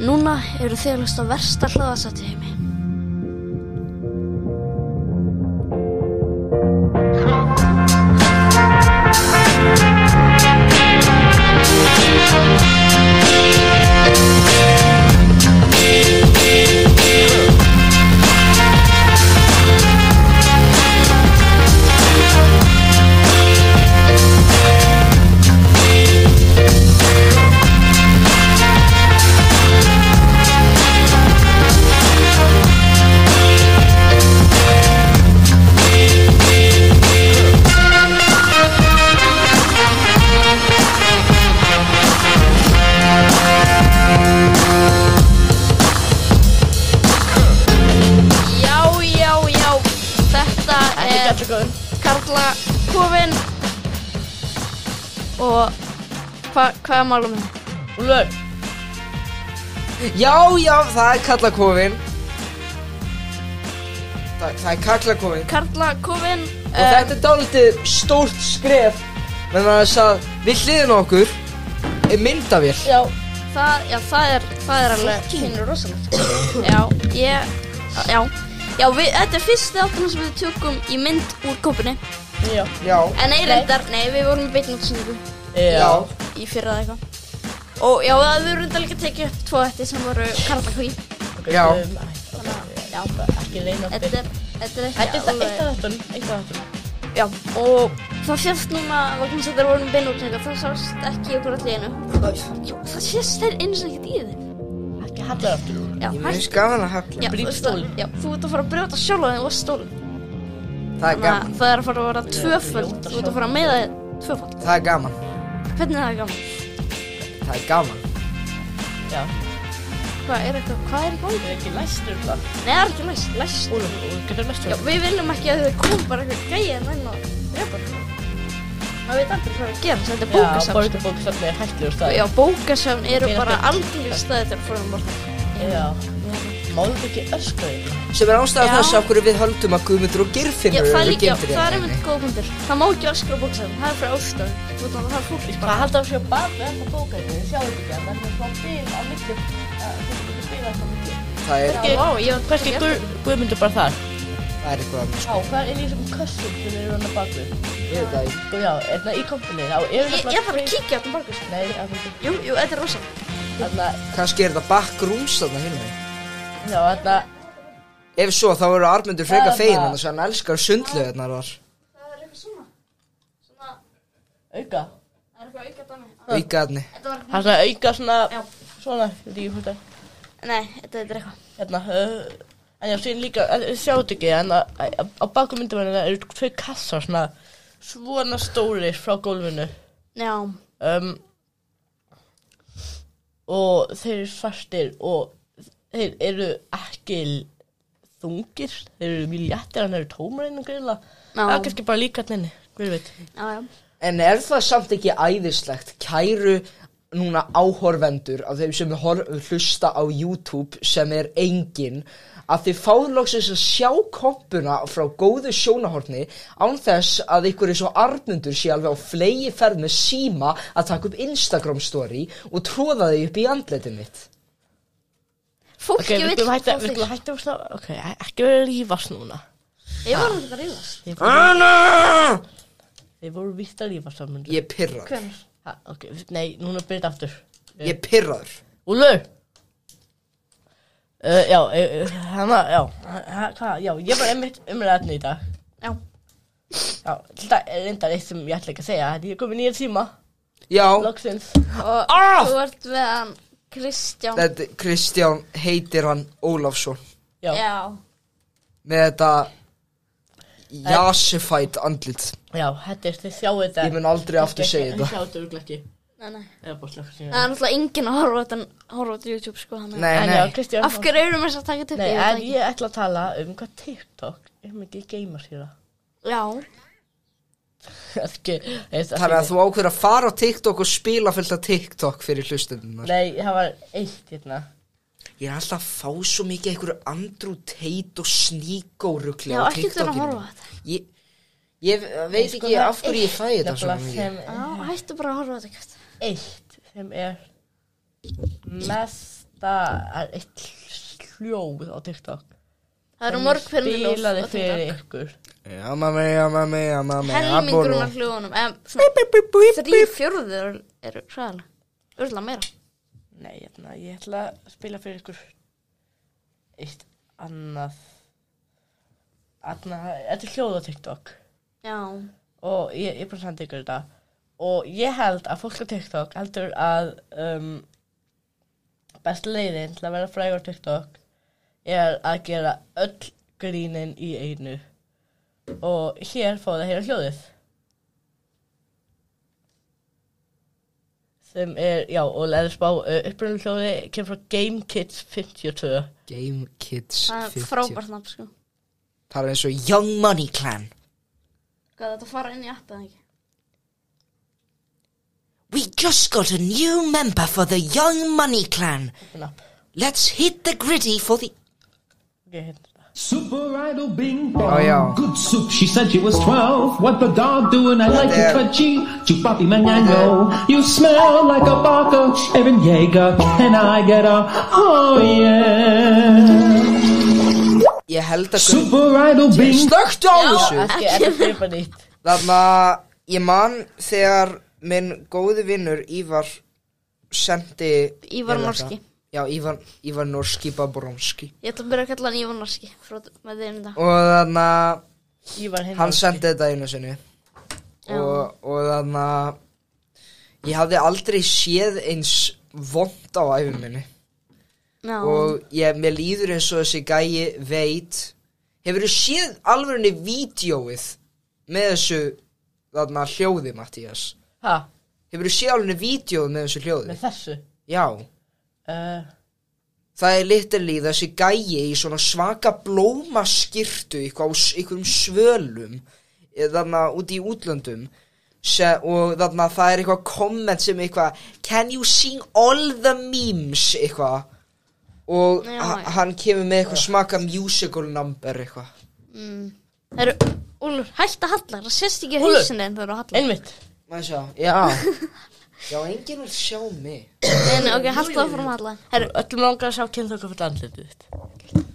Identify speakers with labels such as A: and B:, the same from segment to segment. A: Núna eru þið að hlusta á versta hlaðasætti í heimi.
B: Já, já, já, þetta er
C: góður.
B: Karla Kofinn og hva, hvað er málum þið?
C: Úlfur,
D: Já, já, það er kallakofin það, það er kallakofin
B: Karla Kofinn
D: Og þetta er dálítið stórt skref Menna þess að við hliðin á okkur er myndavél
C: já,
B: það, já, það er, það er alveg
C: kynur rosalegt.
B: Já, ég, já, já, við, þetta er fyrsti áttunum sem við tökum í mynd úr kópunni
C: Já,
D: Já,
B: En nei, reyndar, nei, við vorum í beinni útsendingu
D: já,
B: í fyrra eða eitthvað Og já, það við vorum reyndar líka að tekið upp tvo þetta sem voru Karla Kví
C: Okay,
D: Já.
C: um, æ, ok,
B: Já,
C: Ekki reyna að
B: þetta
C: byrja.
B: er, þetta er ekki
C: Þetta er það
B: alveg-
C: eitt af þáttunum, eitt af þáttunum.
B: Já, og það sést núna, vegna þess að þeir voru með beinútsendingu, það sást ekki okkur allir einu Jú, það sést þeir einu sem ekki í þeim
C: Ekki hallar aftur.
B: Já,
D: mjög skafan að
B: já,
D: hafla
B: þú
C: brýt
B: veist það-
C: stólinn.
B: Já, þú ert að fara að brjóta sjálfa þig og stólinn
D: Það er
B: Þannig
D: gaman,
B: að það er að fara að vera tvöföld, þú ert að fara að meða þig tvöföld
D: það er gaman,
B: Hvernig er það gaman?
D: það er gaman
C: Já,
B: Hvað er eitthvað, hvað er í gangi?
C: það er ekki læstur um það.
B: Nei, það er ekki læst, læst
C: Úlfur, Úlfur, getur læstur
B: Já, við viljum ekki að þau kom bara eitthvað gæja en enn og drepa þau Maður veit aldrei hvað er að gera, þetta er
C: Já,
B: bókasafn
C: bókasafn. Bókasafn er hættilegur
B: sko.
C: stað.
B: Já, bókasafn eru
C: Fyrir
B: bara
C: börn.
B: algjörlega staði til að fóra um morgun
C: Já. Máluðu ekki öskra þig.
D: Sem er ástæða
B: Já.
D: þess að okkur við höldum að Guðmundur og
B: Já,
D: Geirfinnur
B: það er
D: eru hérna,
B: líka,
D: geimdir
B: það er einmitt góð punktur Það má ekki öskra á bókasafn, það er fyrir ástæðum Þú veit að það er fólk
C: Hvað haldur að sjá bak við þetta bókasafn? Þið sjáum ekki að það er svona bil á milli. að Þið getur ekki spilað á milli.
D: Það er,
C: Ekki-
B: Já, vá, ég var ekki
C: Hverski
B: eftir
C: Guð, Guðmundur bara þar?
D: það er eitthvað annað,
C: Já, hvað er líka svona kössum sem eru hann að bak við?
D: ég veit það ekki.
C: Sko, Já, hérna í kompunni, þá eru
B: Ég ég þarf að kíkja hérna á þetta morgun
C: Nei, já, þú getur.
B: Jú, jú, þetta er rosa
C: Þarna,
D: Kannski er þetta backrooms þarna hinn
C: já, þarna,
D: Ef svo, þá eru Armundur
C: Það
D: freka
C: er
D: fegin
C: það.
D: hann Þannig að hann elskar sundlu þarna þar
B: Það er eitthvað svona Svona,
C: auka.
B: það er eitthvað aukað dæmi
D: Aukaðni
B: Þetta var,
C: Það er svona auka svona,
B: já,
C: svona, ég veit ekki hvað það er.
B: nei, þetta er eitthvað
C: Hérna, uh, en já, síðan líka, en þið sjáu þetta ekki, en að- að- á baku myndavælina eru tvei kassar svona, svona stórir frá gólfinu.
B: Já,
C: Um, og þeir eru svartir og þeir eru ekki þungir, þeir eru mjög léttir, en þeir eru tómar einu grilla.
B: Já.
C: Það er kannski bara líka henni, hver veit.
B: já, já
D: En er það samt ekki æðislegt, kæru núna áhorfendur af þeim sem hor- hlusta á YouTube sem er engin að þið fáðu loksins að sjá kompuna frá góðu sjónahorni án þess að ykkur eins og armundur sé alveg á flegi ferð með síma að taka upp Instagram story og tróða þau upp í andletin mitt.
B: Fólki
C: Ok, við
B: vill
C: skulum hætta,
B: fá
C: við
B: þig.
C: skulum hætta að slá, ok, ekki verið að lífast núna.
B: Ég var alltaf að ríðast
C: Þið voru,
D: Anna!
C: þið voru víst að lífast saman.
D: Ég er pirraður.
B: Hvernig?
C: Ha, ok, nei, núna byrjum þetta aftur.
D: Ég er pirraður.
C: Úlfur! Uh, já, uh, hana, já, ha- hvað, já, ég var einmitt umræðin í dag.
B: Já,
C: Já, þetta er reyndar eitt sem ég ætla ekki að segja, þetta er komið nýja tíma,
D: Já,
C: loksins.
B: og
D: Ah!
B: þú ert með hann Kristján
D: þetta, Kristján heitir hann Ólafsson.
C: Já, já,
B: Já,
D: með þetta
B: Eh.
D: jasified andlit
C: þetta er, þið sjáu þetta.
D: Ég mun aldrei
B: Eh.
D: aftur segja
C: Þið
D: þetta
C: sjáu þetta örugglega ekki.
B: nei, nei
C: Eða bara slökkt síðan.
B: Það er náttúrulega enginn að horfa á þetta, horfa á þetta YouTube sko þannig að-
D: Nei,
C: En já,
D: nei,
C: Kristján.
B: Af hverju erum við að taka þetta upp?
C: Nei,
B: Ég veit
C: en ég ætla að tala um hvað TikTok er mikið geymar síðan.
B: ekki. Já,
C: ekki eitt,
D: þannig að þú ákveður að fara á TikTok og spila fullt af TikTok fyrir hlustundunar
C: Nei, það var eitt hérna
D: Ég er alltaf að fá svo mikið einhverju andrú teit og sníkó
B: já,
D: rugglega á
B: ekki þú að
D: TikTokinu.
B: horfa á þetta
D: Ég, ég veit ekki af hverju ég fæ þetta
C: Nefnilega
D: svona mikið
C: sem
B: Ah. Já, hættu bara að horfa á þetta kjöft
C: eitt sem er mest það er eitt sljóð á TikTok
B: Það eru mörg
C: ljóð
B: pyrrandi
C: Spilaði
B: ljóð
C: fyrir ykkur
D: Jamma mig, jamma mig, jamma mig
B: Helmingurinn af hljóðunum Eða þrý fjörður eru hraðalega Urla meira
C: Nei, hérna, ég ætla að spila fyrir ykkur eitt annað annað, þetta er hljóð á TikTok
B: Já
C: og ég, ég bara sendi ykkur þetta og ég held að fólk á TikTok heldur að um, besta leiðin til að vera frægur á TikTok er að gera öll grínin í einu og hér fóðu að heyra hljóðið sem er, já, og leður spá upprunum hljóði kemur frá Game Kids 52
D: Game Kids
B: Það er
D: 50
B: frábært nafn sko
D: Það er eins og Young Money Clan
B: Hvað þetta fara inn í appið ekki?
E: We just got a new member for the Young Money Clan.
C: Open up.
E: Let's hit the gritty for the
C: ok, hérna þetta
F: Super idol bing
D: Oh,
F: bong.
D: yeah.
F: Good soup, she said she was 12. What the dog doing? I like
D: Yeah.
F: to touchy. Chupapi manango. You smell like a baka. Evan Jaeger. And I get a, oh yeah.
D: Ég held að
F: Super idol bing
D: Slökktu á þessu
C: ekki, þetta er fyrir bara nýtt
D: Þarna, ég man þegar minn góði vinnur Ívar sendi
B: Ívar
D: er þetta?
B: Norski.
D: Já, Ívar, Ívar Norski Babromski
B: Ég ætla að byrja að kalla hann Ívar Norski frá með þeim þetta.
D: Og þarna,
C: ég var hérna
D: hann sendi þetta einu sinni og, og þarna Ég hafði aldrei séð eins vond á æfum minni
B: Já,
D: Og ég, mér líður eins og þessi gæi veit Hefur þú séð alvörunni vídjóið með þessu þarna hljóði, Mattías?
C: ha,
D: Hefur þú séð alveg vídjóð með þessu hljóði?
C: með þessu
D: Já.
C: Uh,
D: Það er literally þessi gæi í svona svaka blómaskirtu eitthvað á s- einhverjum svölum eh, þarna út í útlöndum Se, og þarna það er eitthvað komment sem eitthvað Can you sing all the memes eitthvað og
B: Já.
D: ha- hann kemur með eitthvað smaka musical number eitthvað
B: Mm. það eru, Úlur, hætt að halla, það sést ekki
C: Úlfur.
B: hausin en það eru að halla.
C: einmitt
D: Maður sjá, já Já, enginn vil sjá mig
B: En ok, hallt áfram að halla.
C: Herru, öllum langar að sjá kynþöku fyrir andlitið þitt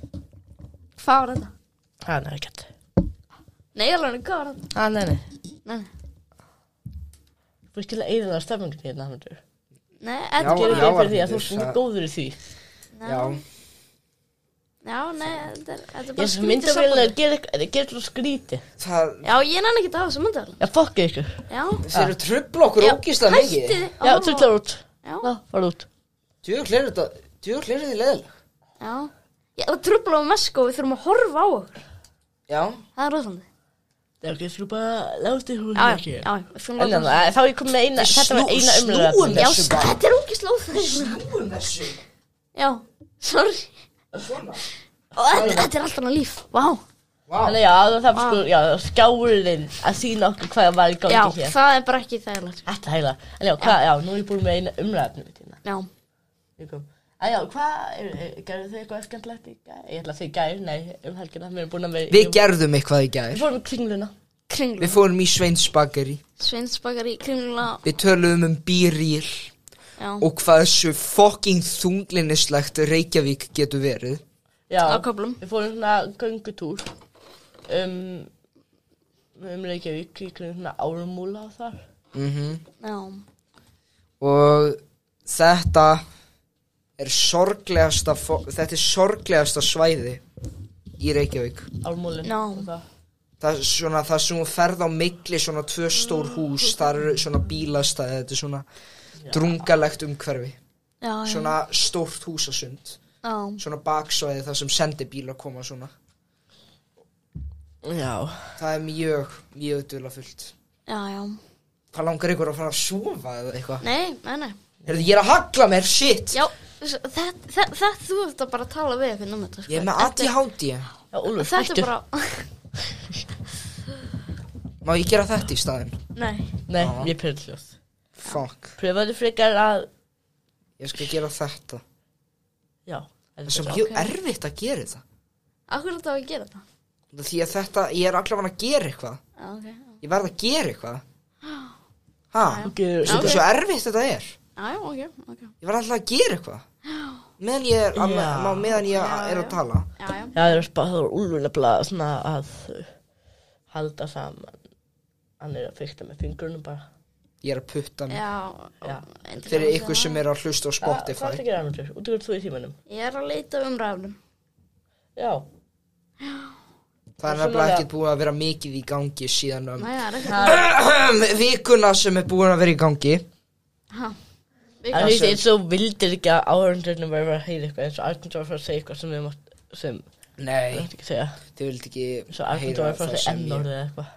B: Hvað var þetta?
C: Það er ekkert
B: Nei, alveg, hvað var þetta?
C: Það, nei, nei
B: Nei, nei.
C: Þú er skilja eðin á stefningu þír, Namundur
B: Nei,
D: Já,
B: þetta
C: Gerðu
B: gerir
D: já.
B: við.
C: þig fyrir því að hérna, þú
D: Arnhildur,
C: ert mjög
D: það-
C: góður í því
D: Já,
B: Já, nei, þetta er, þetta er
C: Ég
B: bara
C: sem
B: skrítið
C: myndi vilja
B: sambandi.
C: að gera eitthvað, gera eitthvað skríti
D: það,
B: Já, ég nann ekki það á þessu myndavel.
C: Já, fokka ykkur
B: Já.
D: þeir eru trubla okkur ógislega mikið
B: hætti þið.
C: Já, tullar út
B: Já.
C: Já, fara út
D: Djögull er þetta, djögull er þetta leðileg.
B: Já. Já, það trublaði með sko, við þurfum að horfa á okkur.
D: Já.
B: Það er rosalega.
C: Það er ekki, þú bara láti hún
B: Já,
C: ekki
B: já, já, við þurfum
C: Ah,
B: að
C: En þannig,
B: horfa á
C: að þá ég kom með eina, þetta var eina
D: snúum
C: umlega
B: Já,
D: þessu bara.
B: þetta er ógislega óþægilegt.
D: Snúum þessu.
B: Já, sorry.
D: Svona.
B: Og þetta, þetta er allt annað líf. Vá.
D: Vá.
C: Þannig, já, það var sko, já, skjáurinn að sína okkur hvað var í
B: Já,
C: gangi hér
B: það er bara ekki þægilegt.
C: Þetta heila En já, hvað, já, nú er ég búin með eina umlega
B: Já.
C: Ég kom. Æjá, hvað, er- er- gerðu þið eitthvað skemmtilegt í gær? Ég ætla að segja gær, nei, um helgina, við erum búin að vera...
D: Við gerðum eitthvað í
C: Við
D: gær.
C: fórum í kringluna.
B: Kringlu.
D: Við fórum í Sveinsbakari.
B: Sveinsbakar í kringla.
D: Við töluðum um býrýl
B: Já.
D: og hvað þessu fucking þunglinislegt Reykjavík getur verið.
C: Já.
B: Á köflum.
C: Við fórum svona göngutúr um, um Reykjavík í kringum svona árumúla og þar.
B: Já.
D: Og þetta er sorglegasta, fo- þetta er sorglegasta svæði í Reykjavík.
C: Árumúlin
B: Já.
C: og það.
D: Það, er svona, það sem hún ferð á mikli svona tvö stór hús, það eru svona bílastæði, þetta er svona drungalegt umhverfi.
B: Já, já.
D: Svona stórt húsasund,
B: Já.
D: svona baksvæði þar sem sendibílar koma svona.
C: Já.
D: Það er mjög, mjög duðlafullt.
B: Já, já.
D: Hvað langar ykkur að fara að sofa eða eitthvað?
B: Nei, nei, nei.
D: Heyrðu, ég er að hagla mér, shit!
B: Já, þetta, þetta, þú ert að bara tala við fyrir númið þetta, sko.
D: Ég er með
B: Þetta-
D: ADHD.
C: Já, Úlfur,
B: Þetta
C: hættu.
B: er bara,
D: Má ég gera þetta í staðinn?
B: nei.
C: Nei, ég pyrr hljóð.
D: Fuck.
C: Pröfaðu frekar að...
D: Ég skal gera þetta.
C: Já. þetta
D: Það er svo
C: betra.
D: mjög erfitt að gera þetta.
B: Akkur þetta á að gera þetta?
D: Út af Því að þetta, ég er allavega að gera eitthvað.
B: Já, ok.
D: Ég verð að gera eitthvað. Ha?
C: Þú gerur-
D: Svo, svo erfitt þetta er.
B: Já, já, ok, ok.
D: Ég verð alltaf að gera eitthvað. meðan ég er, að,
C: Já.
D: má, meðan ég er að tala
B: Já, já.
C: Já, það er bara, það er úlfurlega svona að uh, halda saman. Hann er að fyrta með fingrunum bara.
D: Ég er að putta mig
B: Já,
C: Já.
B: endilega
D: Fyrir
B: hlusta
D: ykkur
B: á
D: sem
B: það.
D: er að hlusta á
C: Hvað er
D: Spotify
C: það að gera annars? Út ykkur þú í tímanum?
B: Ég er að leita um rafnum.
C: Já,
D: Það er
C: Svona-
D: nefnilega ekkert búið að vera mikið í gangi síðan um
B: Nei, það er ekki
D: vikuna sem er búin að vera í gangi
B: það.
C: en því eins og vildir ekki að áhörndurinn verður að heyra eitthvað eins og Arndur var að segja eitthvað sem við mátt, sem, ég
D: Nei,
C: veit ekki að segja,
D: þið vildi
C: eins
D: ekki
C: og Arndur
D: heyra
C: var að
D: það
C: segja
D: sem ég
C: ennórið eða eitthvað.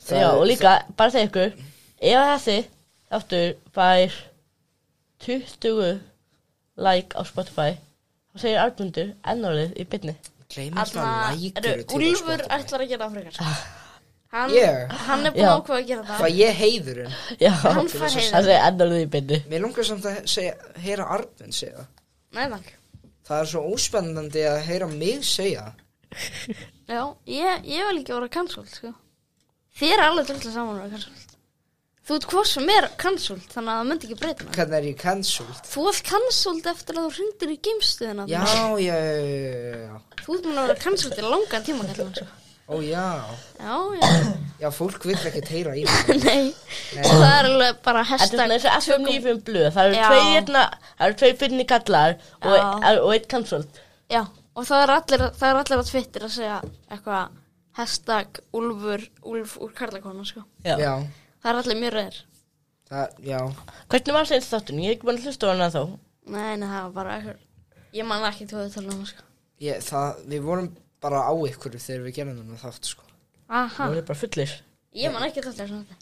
D: Það
C: Já,
D: er-
C: og líka, bara segja ykkur, ef þessi þáttur fær 20 like á Spotify, þá segir Arndur ennórið í bytni.
D: Gleymir
B: Þarna
D: það lækur
B: eru Úlfur ætlar að gera það frekar. Hann,
D: Ég?
B: hann er búin
C: Já.
B: að ákveða að gera það.
D: Það ég heiðurinn
C: Já,
B: Hann
C: hann
B: fær heiðurinn.
C: segir ennórið í bytni.
D: Mér langar samt að segja, heyra Arnvin segja það.
B: Nei, takk.
D: Það er svo óspennandi að heyra mig segja það.
B: Já, ég, ég vil ekki vera cancelled, sko. Þið er alveg drullu saman að vera cancelled. Þú ert hvort sem er cancelled, þannig að það myndi ekki breyta mig.
D: Hvernig er ég cancelled?
B: Þú ert cancelled eftir að þú hringdir í geimstuðina.
D: Já, já, já, já, já, já.
B: Þú ert mun að vera cancelled í langan tíma, kallar hann svo.
D: Ó, já.
B: Já, já,
D: Já, fólk vill ekkert heyra í mig.
B: nei. Það er alveg bara
C: Þetta er
B: hashtag.
C: svona eins og FM 95 blöð, það eru
B: Já.
C: tvei hérna, það eru tvei finni kallar og,
B: Já.
C: er- og eitt cancelled.
B: Já, og það er allir, það er allir að tvittir að segja eitthvað hashtag Úlfur, Úlf úr karlakona, sko.
C: Já.
D: Já,
B: Það er allir mjög reyðir.
D: það, já.
C: Hvernig var það eins þáttun? Ég er ekki búin að hlusta á hana þá.
B: Nei, nei, það var bara eitthvað. Ég man ekki hvað við tala um, sko.
D: Ég, það, við vorum bara á ykkur þegar við gerum þennan þátt, sko.
B: Aha,
C: Það er bara fullir.
B: ég man ekki þetta svona þetta.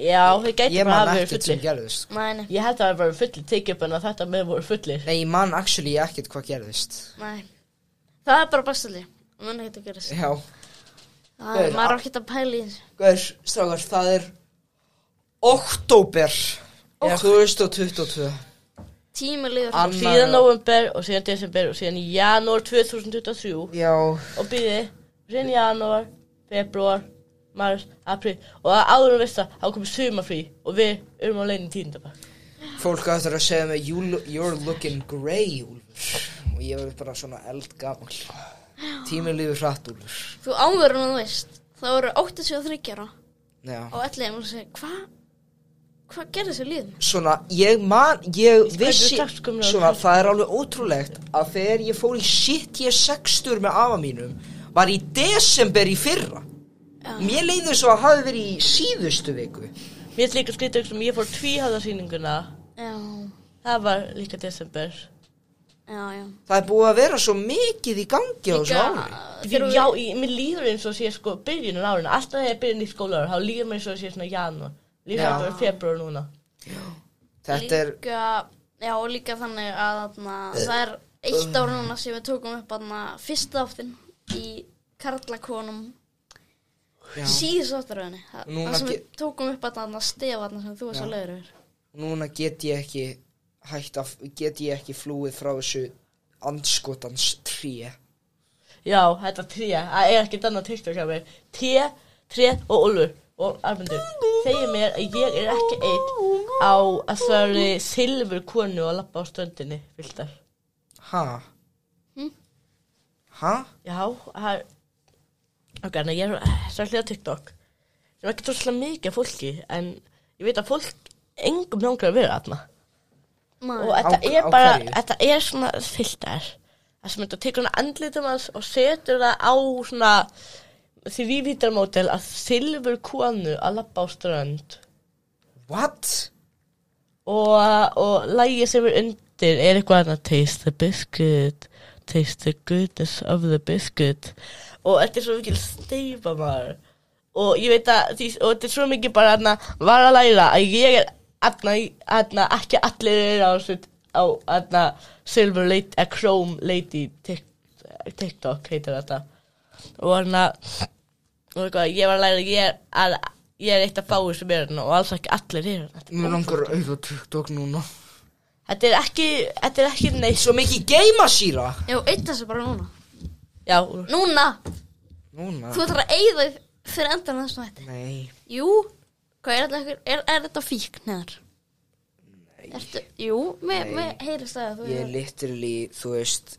C: Já, þau gæti
D: Ég
C: bara
D: man
C: hafa verið
D: ekkert sem
C: fullir.
D: gerðist, sko.
B: Nei, nei,
C: Ég held að það hafi verið fullir, tekið upp en að þetta með voru fullir.
D: Nei, ég man actually ekkert hvað gerðist.
B: nei. Það er bara bestali. Man ekki að gerast.
D: Já.
B: Það
D: Gaur,
B: er, maður á ekki að pæla í þessu.
D: Gaur, strákar, það er oktober 2022.
B: Tími liður.
D: Annar-
C: Síðan november og síðan desember og síðan janúar 2023
D: Já,
C: og býði, síðan janúar, februar, mars, apríl og áður en veist það, þá komið sumafrí og við erum á leiðin tíðindabak.
D: Fólk aftur að segja mig you lo You're looking grey, Úlfur Og ég verður bara svona eldgamal Tíminn lífur hratt, Úlfur
B: Þú áður en þú veist. Það voru 83 ára
D: Já.
B: og allir erum að segja, hvað? Hvað gerði þessu liðum?
D: Svona, ég man, ég
C: Hvernig
D: vissi
C: dagskömmin á
D: Svona,
C: þessu?
D: það er alveg ótrúlegt Að þegar ég fór í shit ég sextur með afa mínum Var í desember í fyrra Mér leiði svo að hafi verið í síðustu viku
C: Mér er líka skrítið sem ég fór tvíhæðarsýninguna
B: Já,
C: Það var líka desember.
B: já, já.
D: Það er búið að vera svo mikið í gangi á þessu ári
C: Fyrir, já, ég, mér líður eins og sé sko byrjunum árinu. Alltaf þegar ég byrjun í skólaður, þá líður mér eins og sé svona janúar. Líka
D: Já.
C: bara februar núna.
D: Þetta er, Eh,
B: líka, já og líka þannig að þarna, það er eitt
D: um.
B: ár núna sem við tókum upp þarna fyrsta áttin í karlakonum síðust áttaröðinni það
D: Núna
B: það sem við
D: ge-
B: tókum upp þarna þarna stefa þarna sem þú varst
D: Já.
B: að leiður yfir
D: núna get ég ekki hægt að, get ég ekki flúið frá þessu andskotans tré
C: Já, þetta tré. Það er ekkert annað TikTok hjá mér. Tré, tré og úlfur og armendur. Segir mér að ég er ekki einn á að svöri silfur konu að lappa á stöndinni, viltar.
D: Ha?
C: Hm?
D: Ha?
C: Já, það er... Ok, en ég er svo hljóða TikTok. Sem er ekki trúslega mikið af fólki, en ég veit að fólk engum langar að vera þarna. og
B: Nei,
C: þetta
D: Á-
C: er
D: á
C: bara,
D: hverju?
C: þetta er svona filter það sem þetta tekur hann andlitum hans og setur það á svona þrývítarmótel að silfur konu að lappa á strönd
D: What?
C: og, og lægi sem er undir er eitthvað annað taste the biscuit taste the goodness of the biscuit og þetta er svo mikil steifa maður og ég veit að því, og þetta er svo mikið bara hana, var að læra að ég er hana, hana, ekki allir er á, þessu- á hana, silver lady eh, chrome lady Tik- tiktok heitir þetta og hana og eitthvað, ég var að læra að ég er, að, ég er eitt af fáið sem er hana og alls ekki allir er hana
D: Mér langar að auðvitað TikTok núna
C: Þetta er ekki, þetta er ekki neitt
D: Svo mikið geimasýra
B: já, eitt þessu bara núna
C: Já,
B: Núna,
D: Núna?
B: þú ætlar að eigða fyrir endan þessu nætti
D: Nei,
B: Jú, hvað er þetta, er, er þetta fíkn neðar?
D: nei
B: Ertu, jú, mér mér heyrist það að þú
D: Ég er literally, þú veist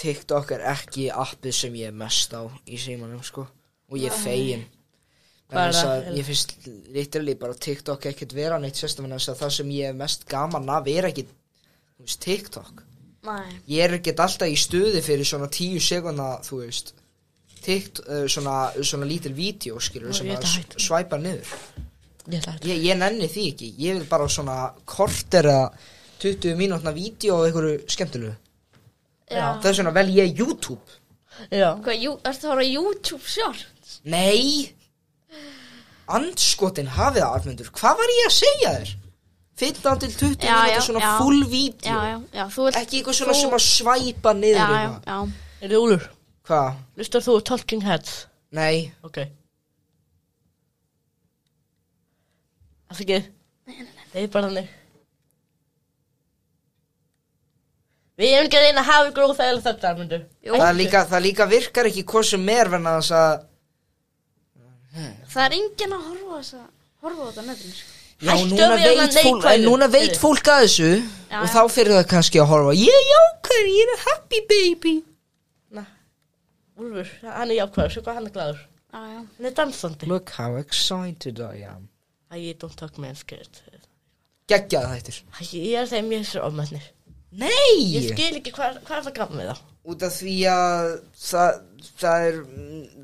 D: TikTok er ekki appið sem ég er mest á í símanum sko og ég er fegin
C: Hvað er það?
D: Ég finnst literally bara TikTok ekkert vera neitt sérstum en þess að það sem ég er mest gaman af er ekki þú veist, TikTok
B: Nei,
D: Ég er ekkert alltaf í stuði fyrir svona tíu sekunda, þú veist TikTok, uh, svona, svona lítil vídeo skilur
C: Ó,
D: sem
C: ég
D: að
C: ætla að
D: s- svæpa niður
C: Ég ætla að
D: ég, ég nenni því ekki, ég vil bara svona kortera 20 mínútna vídeo og einhverju skemmtilegu
B: já
D: Það er svona vel ég YouTube
C: Já,
B: Hvað, jú, ertu að horfa á YouTube sjálf?
D: Nei Andskotin hafið það Arnmundur Hvað var ég að segja þér? 15 til 20
B: Já,
D: mínútur
B: já,
D: svona
B: já.
D: full
B: Já,
D: vídeo
B: já, já, þú ert
D: Ekki eitthvað svona
B: þú-
D: sem að svæpa niður
B: Já, já,
D: eitthvað.
B: já
C: er þið úlur?
D: Hvað?
C: Lustar þú á Talking Heads?
D: Nei,
C: Ok Allt ekki Það er bara þannig Við erum ekki að reyna að hafa ykkur óþægilega þögn Armundur
D: það, er líka, það líka virkar ekki hvað sem er verðan að þess að
B: Það er enginn að horfa á þess að horfa á sko. þetta nefnir
D: Já,
C: Hættu
D: núna
C: að vera
D: veit, fólk,
C: neikvæður.
D: en núna veit fólk að þessu og
B: já.
D: þá fyrir það kannski að horfa Ég er jákar, ég er happy baby
C: Úlfur, hann er jákvæður, sjá hvað hann er glæður
B: Já, já,
C: Hann er dansandi
D: Look how excited I am
C: Æ, ég don't talk me scared
D: Geggjað þættir
C: Æ, ég er þeim ég er sér ofmennir
D: Nei
C: Ég skil ekki hvað, hvað er það gaman við þá
D: út af því að það, það er,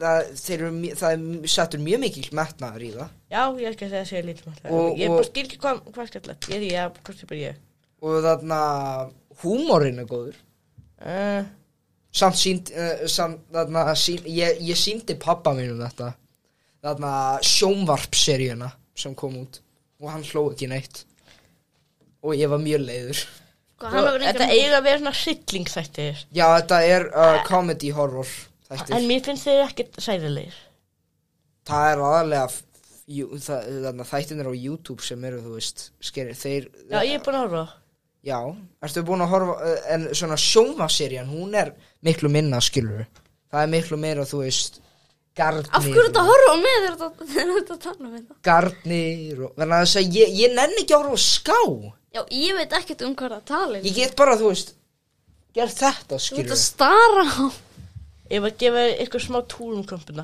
D: það, þeir eru, mj- það er settur mjög mikill metnaður í það
C: Já, ég er ekki að segja að segja lítið
D: Og-
C: maður Ég
D: og-
C: bara skil ekki hvað, hvað er skallett Ég er ég, ég, hvort er bara ég
D: og þarna húmorinn er góður
C: uh,
D: samt sínd, uh, samt, þarna, sín, ég, ég síndi pappa mínum þetta þarna sjónvarpseríuna sem kom út og hann hló ekki neitt og ég var mjög leiður
B: hvað, hann hefur
C: Þetta
B: engan
C: eiga að vera svona hryllingsættir
D: já þetta er uh, comedy horror
C: En
D: þættir,
C: mér finnst þeir ekkert sæðilegir
D: það er aðalega f- jú, það, þarna þættin á YouTube sem eru þú veist skeri, þeir,
C: Já, ég er búin að horfa á.
D: Já, ertu búin að horfa eh, en svona sjómaserían, hún er miklu minna skilur það er miklu meira, þú veist garnir,
B: Af hverju þetta horfa á mig þegar þetta- þegar þetta tala um þetta?
D: garnir og, þannig að þess að ég, ég nenni ekki að horfa á ská
B: Já, ég veit ekkert um hvað það tala um.
D: ég get bara, þú veist gert
B: Þú
D: þetta
B: veit
D: skilur
B: að stara á
C: Ég var að gefa þér ykkur smá túr um kompuna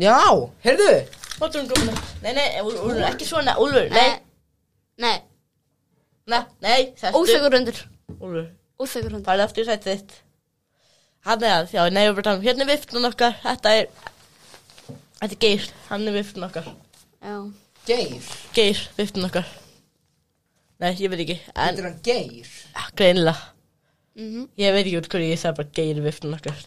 D: Já, heyrðu,
C: Smá túr um kompuna Nei, nei, Úlfur, Úlfur, ekki svona, Úlfur, nei,
B: Eh, Nei,
C: nei, nei, sestu
B: óþegur undir
C: Úlfur,
B: Óþegur undir
C: farið aftur í sætið þitt Hann er að, já, nei, ég var bara að tala um Hérna er viftun okkar, þetta er Þetta er Geir, hann er viftun okkar
B: Já,
D: Geir
C: Geir, viftun okkar Nei, ég veit ekki, en
D: Þetta er hann Geir
C: Ah, greinilega
B: mhm
C: Ég veit ekki út hverju ég sagði bara Geir viftun okkar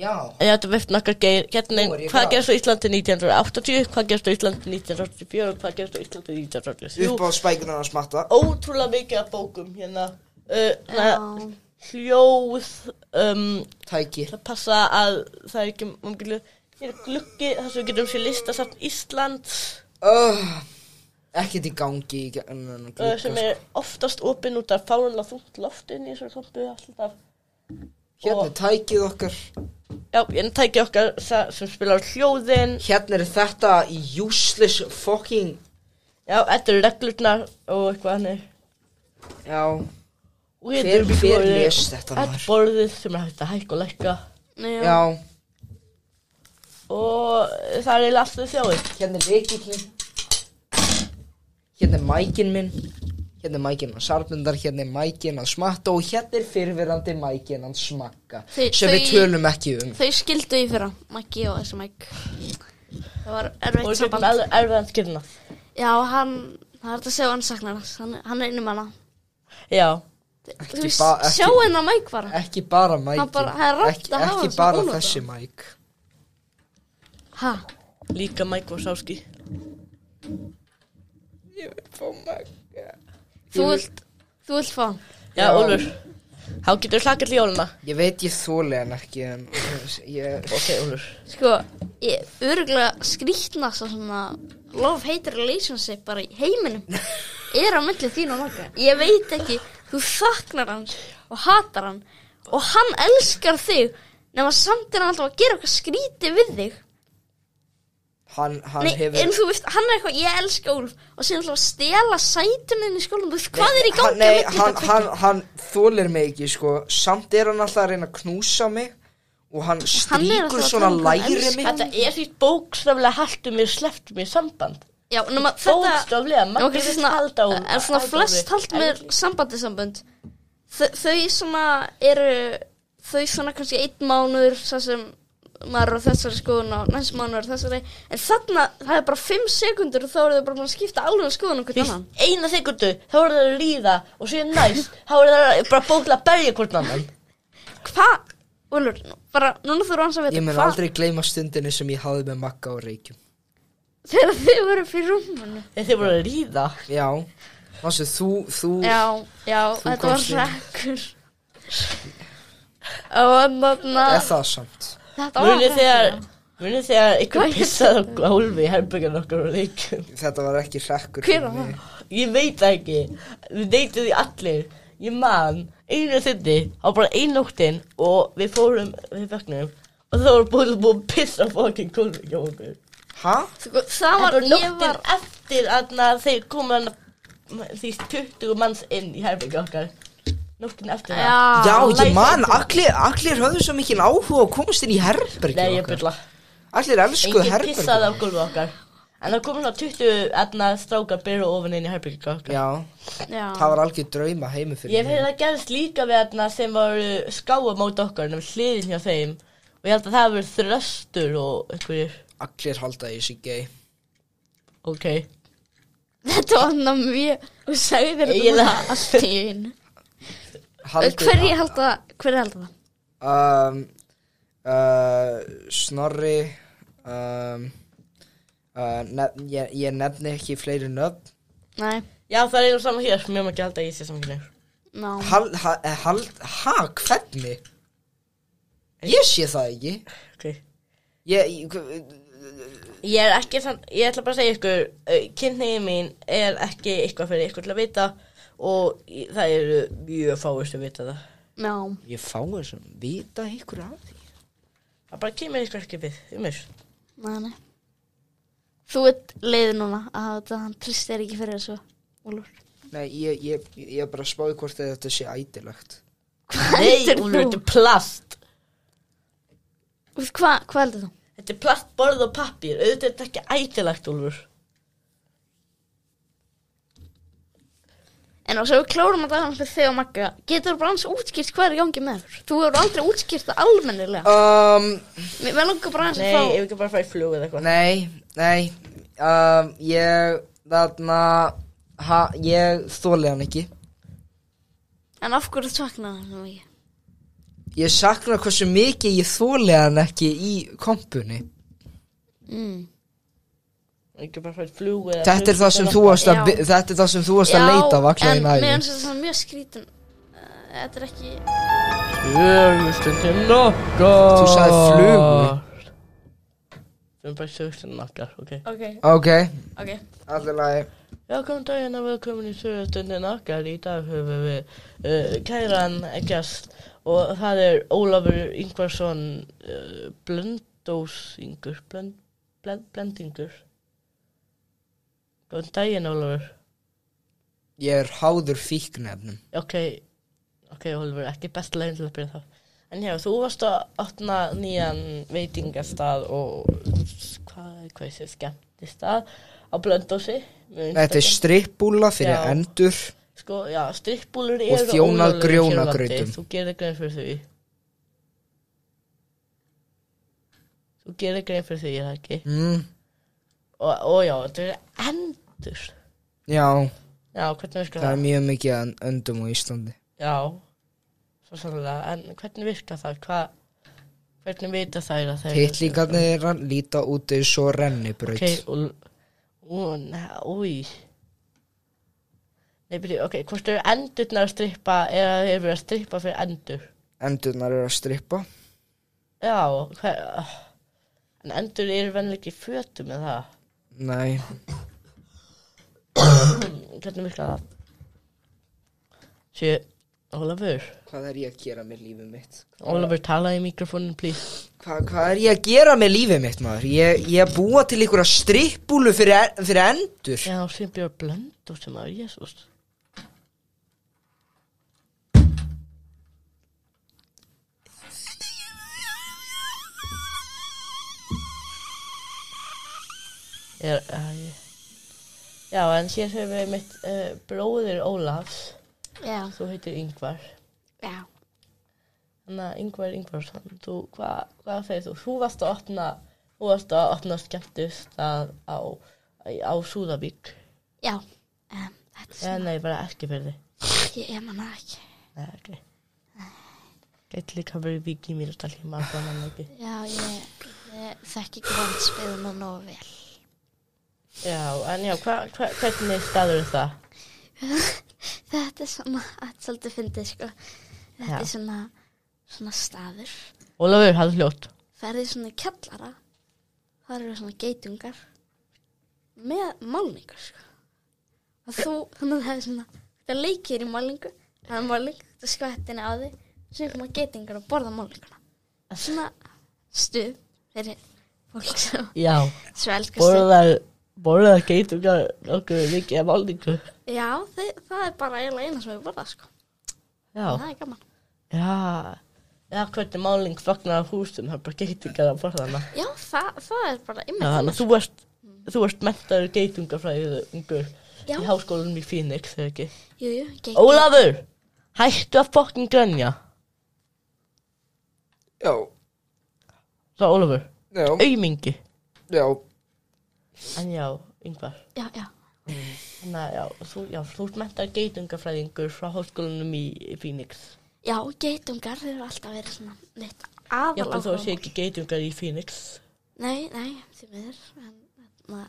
D: Já,
C: En ég ætti að vefna okkar geir, hérna
D: Nú
C: er,
D: er ég
C: hvað
D: glaður.
C: gerst á Íslandi 1980, hvað gerst á Íslandi 1984 og hvað gerst á Íslandi 1983.
D: upp á spækunar hans matta
C: Ótrúlega mikið af bókum hérna, uh,
B: Já,
C: na, hljóð, um,
D: Tæki
C: það passa að það er ekki umgilu, hér er gluggi þar sem við getum sér listasafn Íslands
D: uh, Ekkert í gangi í gegn- en-
C: uh, sem
D: glugga, sko.
C: er oftast opinn út af fárunlega þungt loftin í þessu kompu alltaf.
D: sko. Hérna er tækið okkar
C: Já, en tæki okkar það sem spilar hljóðin,
D: Hérna er þetta useless fucking
C: já, þetta eru reglurnar og eitthvað hannig.
D: Já,
C: Og
D: Hver-
C: þetta er
D: hver
C: borðið-
D: les þetta
C: þetta
D: maður?
C: borðið sem er hægt að hækka og lækka
B: Nei, já
D: já,
C: og það er eiginlega alltaf þjóðið
D: hérna er leikillin Hérna er mækin minn Hérna er mækin hans Arnundar Hérna er mækin hans Matta Og hérna er fyrirverandi mækin hans Smakka
B: Þau-
D: Sem við
B: þau-
D: tölum ekki um
B: Þau skildu í fyrra, Maggi og þessi Mike Það var
C: og
B: erfitt
C: við getum
B: samband
C: alveg erfiðan skilna
B: Já, hann, það er þetta að segja að hann saknar hans Hann, hann er einu manna
C: já,
B: Þú veist,
D: ba- ekki-
B: sjá hennar Mike bara
D: Ekki bara mækin
B: Það bara- það er rangt
D: Ekki,
B: að hafa
D: ekki
B: hann sem
D: bara
B: ónota.
D: þessi mæk
B: Ha,
C: líka Mike Wazowski
B: þú vilt, þú vilt fá hann
C: já,
D: Já.
C: Úlfur, þá getur hlakað til jóluna
D: Ég veit ég þóli hann ekki En ég
C: ok, Úlfur,
B: Sko, ég örgulega skrýtnast og svona love hate relationship bara í heiminum er á myndli þín og Magga Ég veit ekki, þú þaknar hann og hatar hann og hann elskar þig nema samt er hann alltaf að gera eitthvað skrítið við þig
D: Hann, hann
B: Nei,
D: hefur
B: en þú veist, hann er eitthvað, ég elska Úlf og síðan ætla að stela sætum inn í skólanum, þú veist, hvað er í gangi
D: Hann- Nei,
B: á milli
D: hann,
B: þetta
D: hann, hann þólir mig ekki, sko Samt er hann alltaf að reyna að knúsa mig Og hann
B: alltaf
D: strýkur
B: að
D: svona
B: tala um hvað hann
D: læri mig
B: elskar.
C: Þetta er því bókstaflega haltu mér, sleftu mér samband
B: Já, nema þetta
C: Bókstaflega,
B: Já,
C: maður
B: kannski
C: getur
B: svona-
C: halda á
B: En svona
C: halda á
B: flest
C: því.
B: hald með sambandisambönd Þau- Þau svona eru Þau svona kannski einn mánuður Svo sem maður er á þessari skoðun Og næst mánuður á þessari En þarna, það er bara 5 sekundur og Þá eru þau bara búin að skipta alveg um skoðun og hvern annan
C: Fyrst eina sekundu, þá voru það að líða og svo er næst, þá voru það bara bókla að berja hvort annan
B: Hvað, Úlfur, nú- bara Núna þú eru hans að
D: Ég
B: vita
D: mun
B: hvað
D: aldrei gleyma stundinni sem ég hafði með Magga og Reykjum
B: Þegar þau voru fyrir rúmunu
C: Þegar þeir voru að líða
D: Já, Manstu, þú, þú
B: Já, já, þetta var
D: komst inn.
B: rekkur Og þannig
D: Er
B: að
D: það samt
B: Þetta var
C: Munið þegar,
B: hrekkur.
C: munið þegar ykkur pissaði á gólfi í herbyggjan okkar og leikum
D: Þetta var ekki hrekkur
B: Hver
D: fyrir
B: var
D: mig.
C: Ég veit það ekki Við neytum því allir Ég man einu þinni á bara einu nóttin og við fórum við vögnum og það voru búin að búin að pissa á fokkin gólfi hjá okkur
D: Ha?
B: Sko, Það
C: Þetta
B: var,
C: var
B: ég
C: nóttin
B: var
C: eftir að þeir komu hann því 20 manns inn í herfingi okkar Nóttin eftir það
B: Já,
D: Já, ég
C: læsi
D: man,
C: þetta.
D: allir, allir höfðu svo mikinn áhuga og komast inn í
C: Nei,
D: herbergi
C: ég byrla
D: Allir elskuðu
C: Engin
D: herbergi
C: pissaði á gólfi okkar En það komu hann 20 aðna strákar byrja ofan inn í herfingi okkar
D: Já,
B: já.
D: það var algjör drauma heimi fyrir
C: Ég hef heyrði að gerðist líka við hérna sem voru skáum át okkar en við hliðin hjá þeim og ég held að það hafi verið þröstur og einhverjir,
D: Allir halda í sig gay
C: ok
B: Þetta var hann að mjög Þú sagði þér þetta
C: Eiginlega.
B: bara allt í einu
D: Haldið-
B: Hverju held að Hverju held að það?
D: um, uh, Snorri um, uh, nef, ég, ég nefni ekki fleiri nöfn
B: Nei,
C: Já það er einu saman hér, mjög maður ekki held að ég sé samkynir
B: ná
D: Hal, ha, eh, hal, ha, hvernig? Ég sé það ekki
C: Ok
D: Ég, ég,
C: Ég er ekki sann, ég ætla bara að segja ykkur kynniði mín er ekki eitthvað fyrir ykkur til að vita og í- það eru mjög fáist að vita það
B: Ná,
D: ég fá þessum Vita ykkur af því
C: Það bara kemur ykkur ekki við, um mér
B: nei, nei Þú ert leið núna að þetta hann tristir ekki fyrir þessu Úlfur
D: Nei, ég, ég, ég er bara að spáði hvort að þetta sé ætilegt
C: Nei,
B: heldur
C: hún
B: þú?
C: er þetta er plast
B: Þú veist, Hvað hva heldur þú?
C: Þetta er plast, borð og pappír, auðvitað er þetta ekki ætilegt, Úlfur
B: En og svo við klárum að dagans með þig og Magga Getur bara hans útskýrt hvað er í gangi með þér? Þú hefur aldrei útskýrt það almennilega
D: um,
B: Mér mér langar bara hans
C: Nei,
B: að fá
C: ef við ekki bara að fara í flug eða eitthvað
D: Nei, nei um, Ég, þarna ha, Ég þóli hann ekki
B: En af hverju saknaði hann ekki?
D: Ég sakna hversu mikið ég þóli hann ekki í kompunni
B: Mm.
C: ekki bara fætt flugu eða
D: Þetta er það sem þú varst að, bi- þetta er það sem þú varst að leita vakna í
B: en mér
D: nægum
B: finnst þetta svona mjög skrítin uh, Þetta er ekki
C: Flugustundin okkar
D: Þú sagði flugu.
C: Við erum bara sögustundin okkar, ok
B: Ok,
D: Ok,
B: ok
D: allir lagi
C: Já, kom daginn að við erum komin í sögustundin okkar Í dag höfum við uh, kæran gæst Og það er Ólafur Ingvarsson uh, Blöndósingur blönd, blend, Blendingur Góðan daginn, Ólafur
D: Ég er háður fíknefnum
C: Ok, ok, Oliver, ekki besta leginn til að byrja það. En já, þú varst að opna nýjan veitingastað og hvað, hvað ég sé, skemmtistað á Blöndósi. Mun
D: Þetta er strippbúla fyrir
C: Já.
D: endur
C: Sko, já, strippbúlur
D: Og
C: eru
D: þjónað
C: ólöglegar hér á landi.
D: grjónagrautum.
C: Þú gerir grein fyrir því. Þú gerir grein fyrir því, er það ekki?
D: mm,
C: Og, og já, þetta er endur.
D: Já,
C: Já, hvernig virkar
D: það
C: það?
D: er mjög mikið en- öndum á Íslandi
C: Já, svo sannlega, en hvernig virka það, hvað, hvernig vita þær að þeir...
D: Tittlingarnir þeirra líta út eins og rennibraut
C: Ok, og, ó, neða, úi. Nei, byrju, ok, hvort eru endurnar að strippa eða þeir eru að strippa fyrir endur?
D: Endurnar eru að strippa
C: Já, hver, ah, en endur eru venlega ekki í fötum með það.
D: Nei,
C: Hmm, Hvernig virka það? Sjö, Ólafur,
D: Hvað er ég að gera með lífið mitt?
C: Ólafur, tala í mikrofónin, please.
D: Hva, hvað er ég að gera með lífið mitt maður? Ég, ég að búa til ykkur að strippbúlu fyrir, fyrir endur
C: Já, sem björ blönd og sem að, jésús. Er, að, ég... Já, en hér höfum við mitt uh, bróðir Ólafs,
B: Já,
C: þú heitir Yngvar.
B: já.
C: Þannig að Yngvar Yngvarsson, þú, hva, hvað segir þú? Þú varst að opna, þú varst að opna skemmtist að, á, á Súðavík.
B: Já, um, þetta er
C: Eða nei, bara Eskifjörði.
B: ekki, ég manna ekki.
C: Nei, ok. Gæti líka verið Vík í Mýrdal, ég maður bara mann ekki.
B: Já, ég, ég þekki grandsbyðuna nógu vel.
C: Já, en já, hva, hva, hvernig staður er það?
B: Þetta er svona, þetta er svolítið fyndið, sko. Þetta
C: Já.
B: er svona, svona staður.
C: Ólafur, hafðu fljótt.
B: Ferðið svona í kjallara. Það eru svona geitungar. Með málningu, sko. Og þú, þannig að það er svona, þetta leikir í málningu. Það er málning, þetta skvettinni á þig. Svo koma geitungar og borða málninguna. Svona stuð fyrir fólk sem,
C: Já,
B: sem elskar stuð.
C: borðar, borðar geitungar okkur mikið af málningu.
B: Já, þi- það er bara eiginlega eina sem við borða, sko. Það
C: Já,
B: er gaman.
C: já. Já, hvernig málning fagnar af húsum, það er bara geitungar að borða hana.
B: Já, það, það er bara
C: Já,
B: ymmið.
C: þannig að þú ert, þú ert mentaður geitungafræðingur
B: Já.
C: í háskólanum í Phoenix, þegar ekki.
B: Jú, jú, gekk.
C: Ólafur, hættu að fokkin grænja.
D: Já,
C: Svo Ólafur,
D: já,
C: aumingi.
D: já
C: En já, yngvar.
B: Já, já.
C: Þannig að Hérna, já, þú, já, þú ert mentaður geitungafræðingur frá háskólanum í í Phoenix.
B: Já, geitungar hefur alltaf verið svona neitt
C: Já,
B: aðal
C: þú
B: áhugamál.
C: sé ekki geitungar í Phoenix.
B: Nei, nei, því miður. En, na,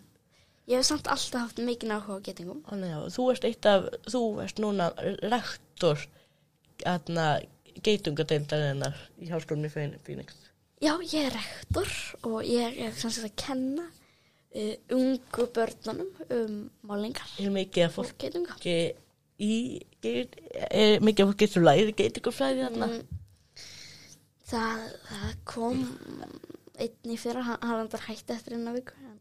B: ég hef samt alltaf haft mikið áhuga á geitingum.
C: Þannig að já, þú ert eitt af, þú ert núna rektor, aðna, geitungadeildarinnar í háskólanum í Phoen- Phoenix.
B: Já, ég er rektor og ég er kannski að kenna uh, ungu börnunum um málingar
C: Er mikið af fólk
B: og geitunga.
C: fólki í geit, er mikið af fólki sem læri geitingafræði þarna
B: Mm. Það, það kom einn í fyrra, hann, hann var hætti eftir einu viku. En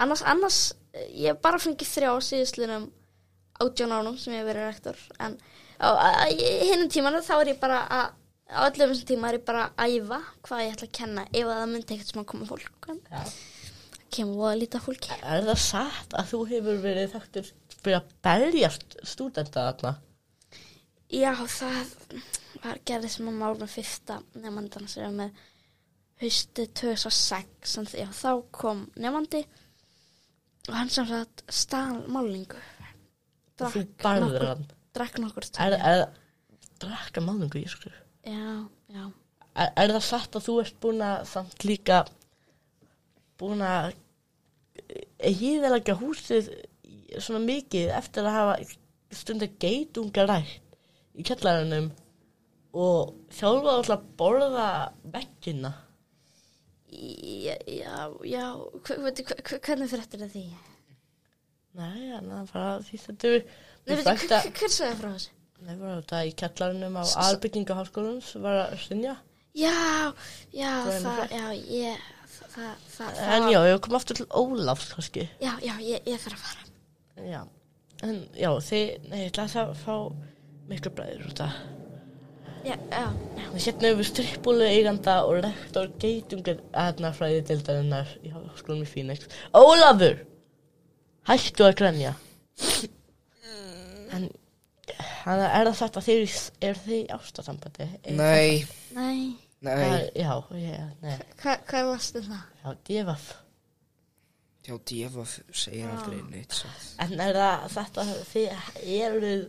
B: Annars, annars, eh, ég hef bara fengið þrjá síðustlunum átjón ánum sem ég hef verið rektor. En á, á- í hinnum tímanu þá er ég bara að, á öllum þessum tíma er ég bara að æfa hvað ég ætla að kenna ef að það myndi ekkert sem að koma fólk. En
C: Já.
B: það kemur voða lítið af fólki.
C: Er það satt að þú hefur verið þekktur fyrir að berjast stúdenta þarna?
B: Já, það var gerðið sem að mál með fyrsta nefndan sem var með hausti 2006 en því að þá kom nefndi og hann sem sagt stal málningu
C: Þú barður
B: nokkur,
C: hann
B: drakk nokkur
C: Er,
B: tóni
C: er, drakka málningu, ég skur
B: Já, já,
C: er, er það satt að þú ert búin að samt líka búin að hýðalega húsið í- svona mikið eftir að hafa stundar geitungarætt í kjallarunum og þjálfa alltaf að borða vekkina
B: já, já, já hve- veitu, hve- hve- hvernig fréttir það því?
C: Nei, þannig að bara því stendur
B: Nei,
C: Þú
B: veitu,
C: sagt að,
B: hver, hver sagði frá þessu?
C: nei, bara þetta í kjallarunum á albyggingaháskólanum sem var að sinja
B: Já, já,
C: Það er nú
B: það, já, ég, það, það, það,
C: En já, ég kom aftur til Ólafs kannski
B: já, já, ég, ég þarf að fara.
C: Já, en já, þið, nei, ég ætla að fá miklu bræður út af
B: Já, já, já.
C: Og Hérna hefur strippbúlu eiganda og rektor geitungar aðnafræði deildarinnar í háskólanum í Phoenix. Ólafur! Hættu að grenja. En, hann er það þetta þeir, er þið í ástasambandi? Er-
D: Nei,
B: Nei,
D: nei
C: Það- Já, já, nei,
B: hva, hvað varstu það?
C: já, divaf.
D: Já, djöfa segir aldrei neitt satt
C: En er það þetta þið eruð,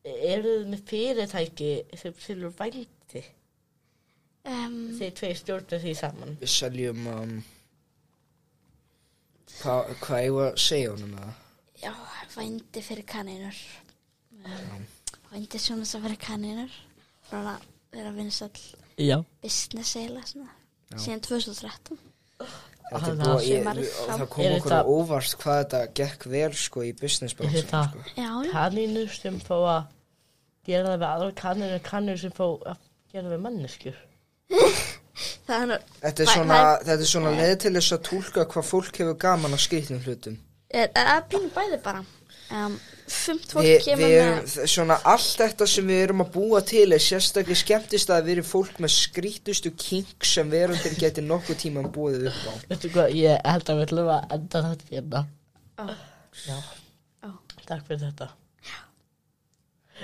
C: eruð með fyrirtæki sem tilur vændi?
B: Um,
C: Þið tvei stjórnir því saman.
D: Við seljum um, Hvað hva ég var að segja honum það?
B: Já, vændi fyrir kaninur um, Vændi svona sem fyrir kaninur Svona vera vinsall
C: Já.
B: business eila svona Síðan 2013
D: Þetta er
C: Hann
D: búið, ég,
B: sumarið
D: og
B: fram.
D: það kom
C: Er
D: okkur
C: þetta-
D: óvart hvað þetta gekk vel sko í business bransan
C: Þetta-
D: sko.
B: Já, já,
C: kaninu sem fá að gera það við aðra kannir en kannir sem fá að gera við manneskjur.
B: Það er nú-
D: Þetta er
B: Nei,
D: svona,
B: það
D: þetta er svona leið til þess að túlka hvað fólk hefur gaman af skrýtnum hlutum.
B: er- Það er pínu bæði bara um, Fimt
D: Vi,
B: fólk
D: við
B: kemur
D: erum,
B: með
D: svona allt þetta sem við erum að búa til er sérstaklega skemmtist að við erum fólk með skrýtustu kink sem verundir geti nokkuð tíma búið upp á.
C: Veitu hvað, ég held að við ætlum að enda þetta hérna. Já.
B: Ó.
C: Takk fyrir þetta.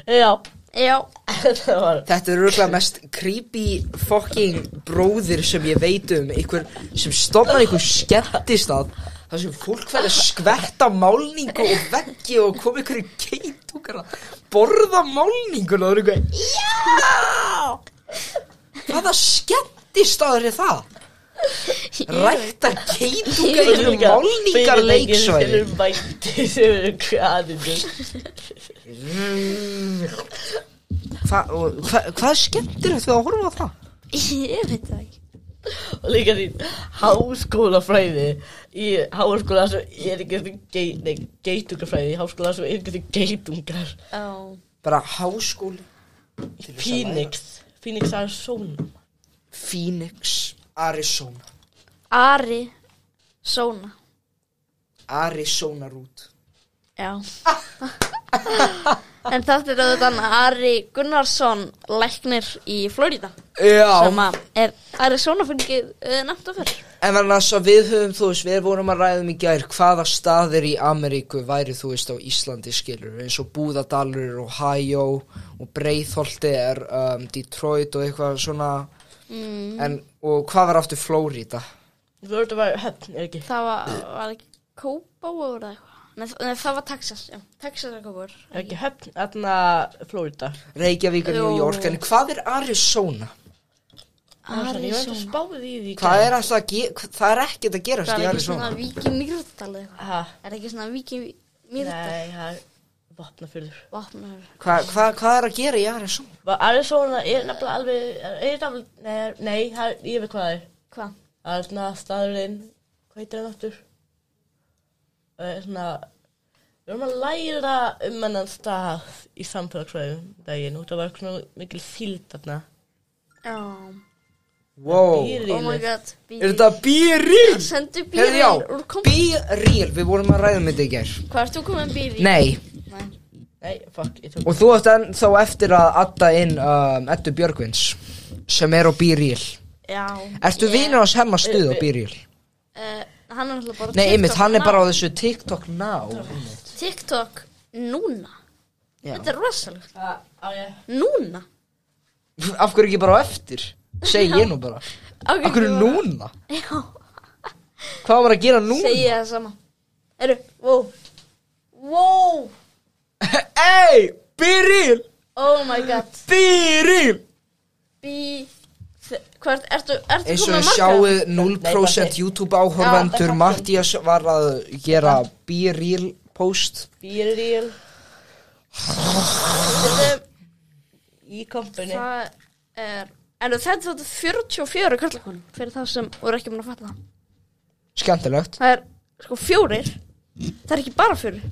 C: Já.
B: Já,
C: þetta var...
D: Þetta er rúglega mest creepy fucking bróðir sem ég veit um einhver sem stofnar einhver skemmtist að þar sem fólk verður að skvetta málningu og veggi og koma einhverju geitungar að borða málninguna og það er einhver Já! Hvaða skemmtist er það? Rækta geitungar í
C: Líka
D: málningar
C: fyrirtæki sem
D: leiksvæði
C: eru mætti sem eru kraninu.
D: Hva, og, hva, Hvað er skemmtilegt við að horfa á það?
B: ég veit það ekki
C: og líka því háskólafræði í háskóla sem er ekki því gei, nei, geitungafræði í háskóla sem er ekki því geitungar
B: oh.
D: Bara háskóli
C: í Phoenix Phoenix Arizona
D: Phoenix, Arizona
B: Ari Sona
D: Arizona rút
B: Já En þetta er auðvitað Ari Gunnarsson læknir í Florida
D: Já,
B: sem að er Arizona fengið uh, nefnt og fyrr
D: en annars að við höfum, þú veist, við vorum að ræðum í gær hvaða staðir í Ameríku væri, þú veist, á Íslandi skilur eins og Búðadalur, Ohio og Breitholti er um, Detroit og eitthvað svona mm. en, og hvað var aftur Flórida?
C: Þú voru að vera höfn, er ekki
B: Það var, var ekki Kópáur eða eitthvað Nei, þa- nei, það var Texas, já, Texas er Kópáur
C: er ekki höfn, þarna Florida
D: Reykjavík og New
B: Jú.
D: York, en hvað er Arizona?
C: Arizona, ég var ekki að spáði í því
D: Hvað er alltaf að ge- hva- það er ekkert að gerast
B: Það
D: í
B: er ekki svona
D: Arizona
B: Víki Mýrdal eða eitthvað
C: Ha,
B: Er það ekki svona Víki Mýrdal
C: nei, það er vopnafjörður
B: Vopnaður
D: Hva, hva, Hvað er að gera í Arizona?
C: Va- Arizona er nefnilega alveg er nefnilega, nei, nei það er, ég veit hvað það er
B: Hvað?
C: Það er svona staðurinn, hvað heitir hann aftur? Það er svona, við erum að læra um hennan stað í samfélagsfræðum daginn út af að vera svona mikil síld þarna.
B: Já
D: Wow,
C: Býr í
B: Oh my
C: líf.
B: god
D: er þetta býrinn?
B: Sendu
D: Herði
B: bílinn
D: já,
B: úr kom
D: be real, við vorum að ræða með þetta í gær
B: Hvað ert þú komið um bíl í?
D: Nei,
B: Nei.
C: Nei, fuck, ég tók.
D: og þú átt enn þá eftir að adda inn um, Eddu Björgvins sem er á be real
B: Já
D: Ertu vinur hans hemma stuð á be real?
B: uh, Hann er alltaf bara
D: Nei,
B: Eh,
D: einmitt,
B: TikTok
D: hann er
B: now.
D: bara á þessu TikTok now
B: TikTok núna
D: Já.
B: Þetta er rosalegt
C: Það, á ég.
B: Núna
D: Af hverju ekki bara á eftir? Segi ég nú bara
B: Af
D: Af hverju núna?
B: Já,
D: Hvað var að gera núna?
B: segi ég það sama Eru, wow Wow,
D: Ey, be real,
B: oh my god
D: be real
B: Bí þ- Hvað, ertu, ertu
D: Eins og
B: komið
D: við
B: marga?
D: sjáuð
C: Nei,
D: 0%
C: bara-
D: YouTube áhorfendur
C: Já,
D: Mattias var að gera be real post
C: Bíríl. Í kompunni.
B: Það er En þetta þáttu 44 karlakonum Fyrir þá sem voru ekki búin að fatta það
D: Skemmtilegt
B: Það er sko fjórir Það er ekki bara fjórir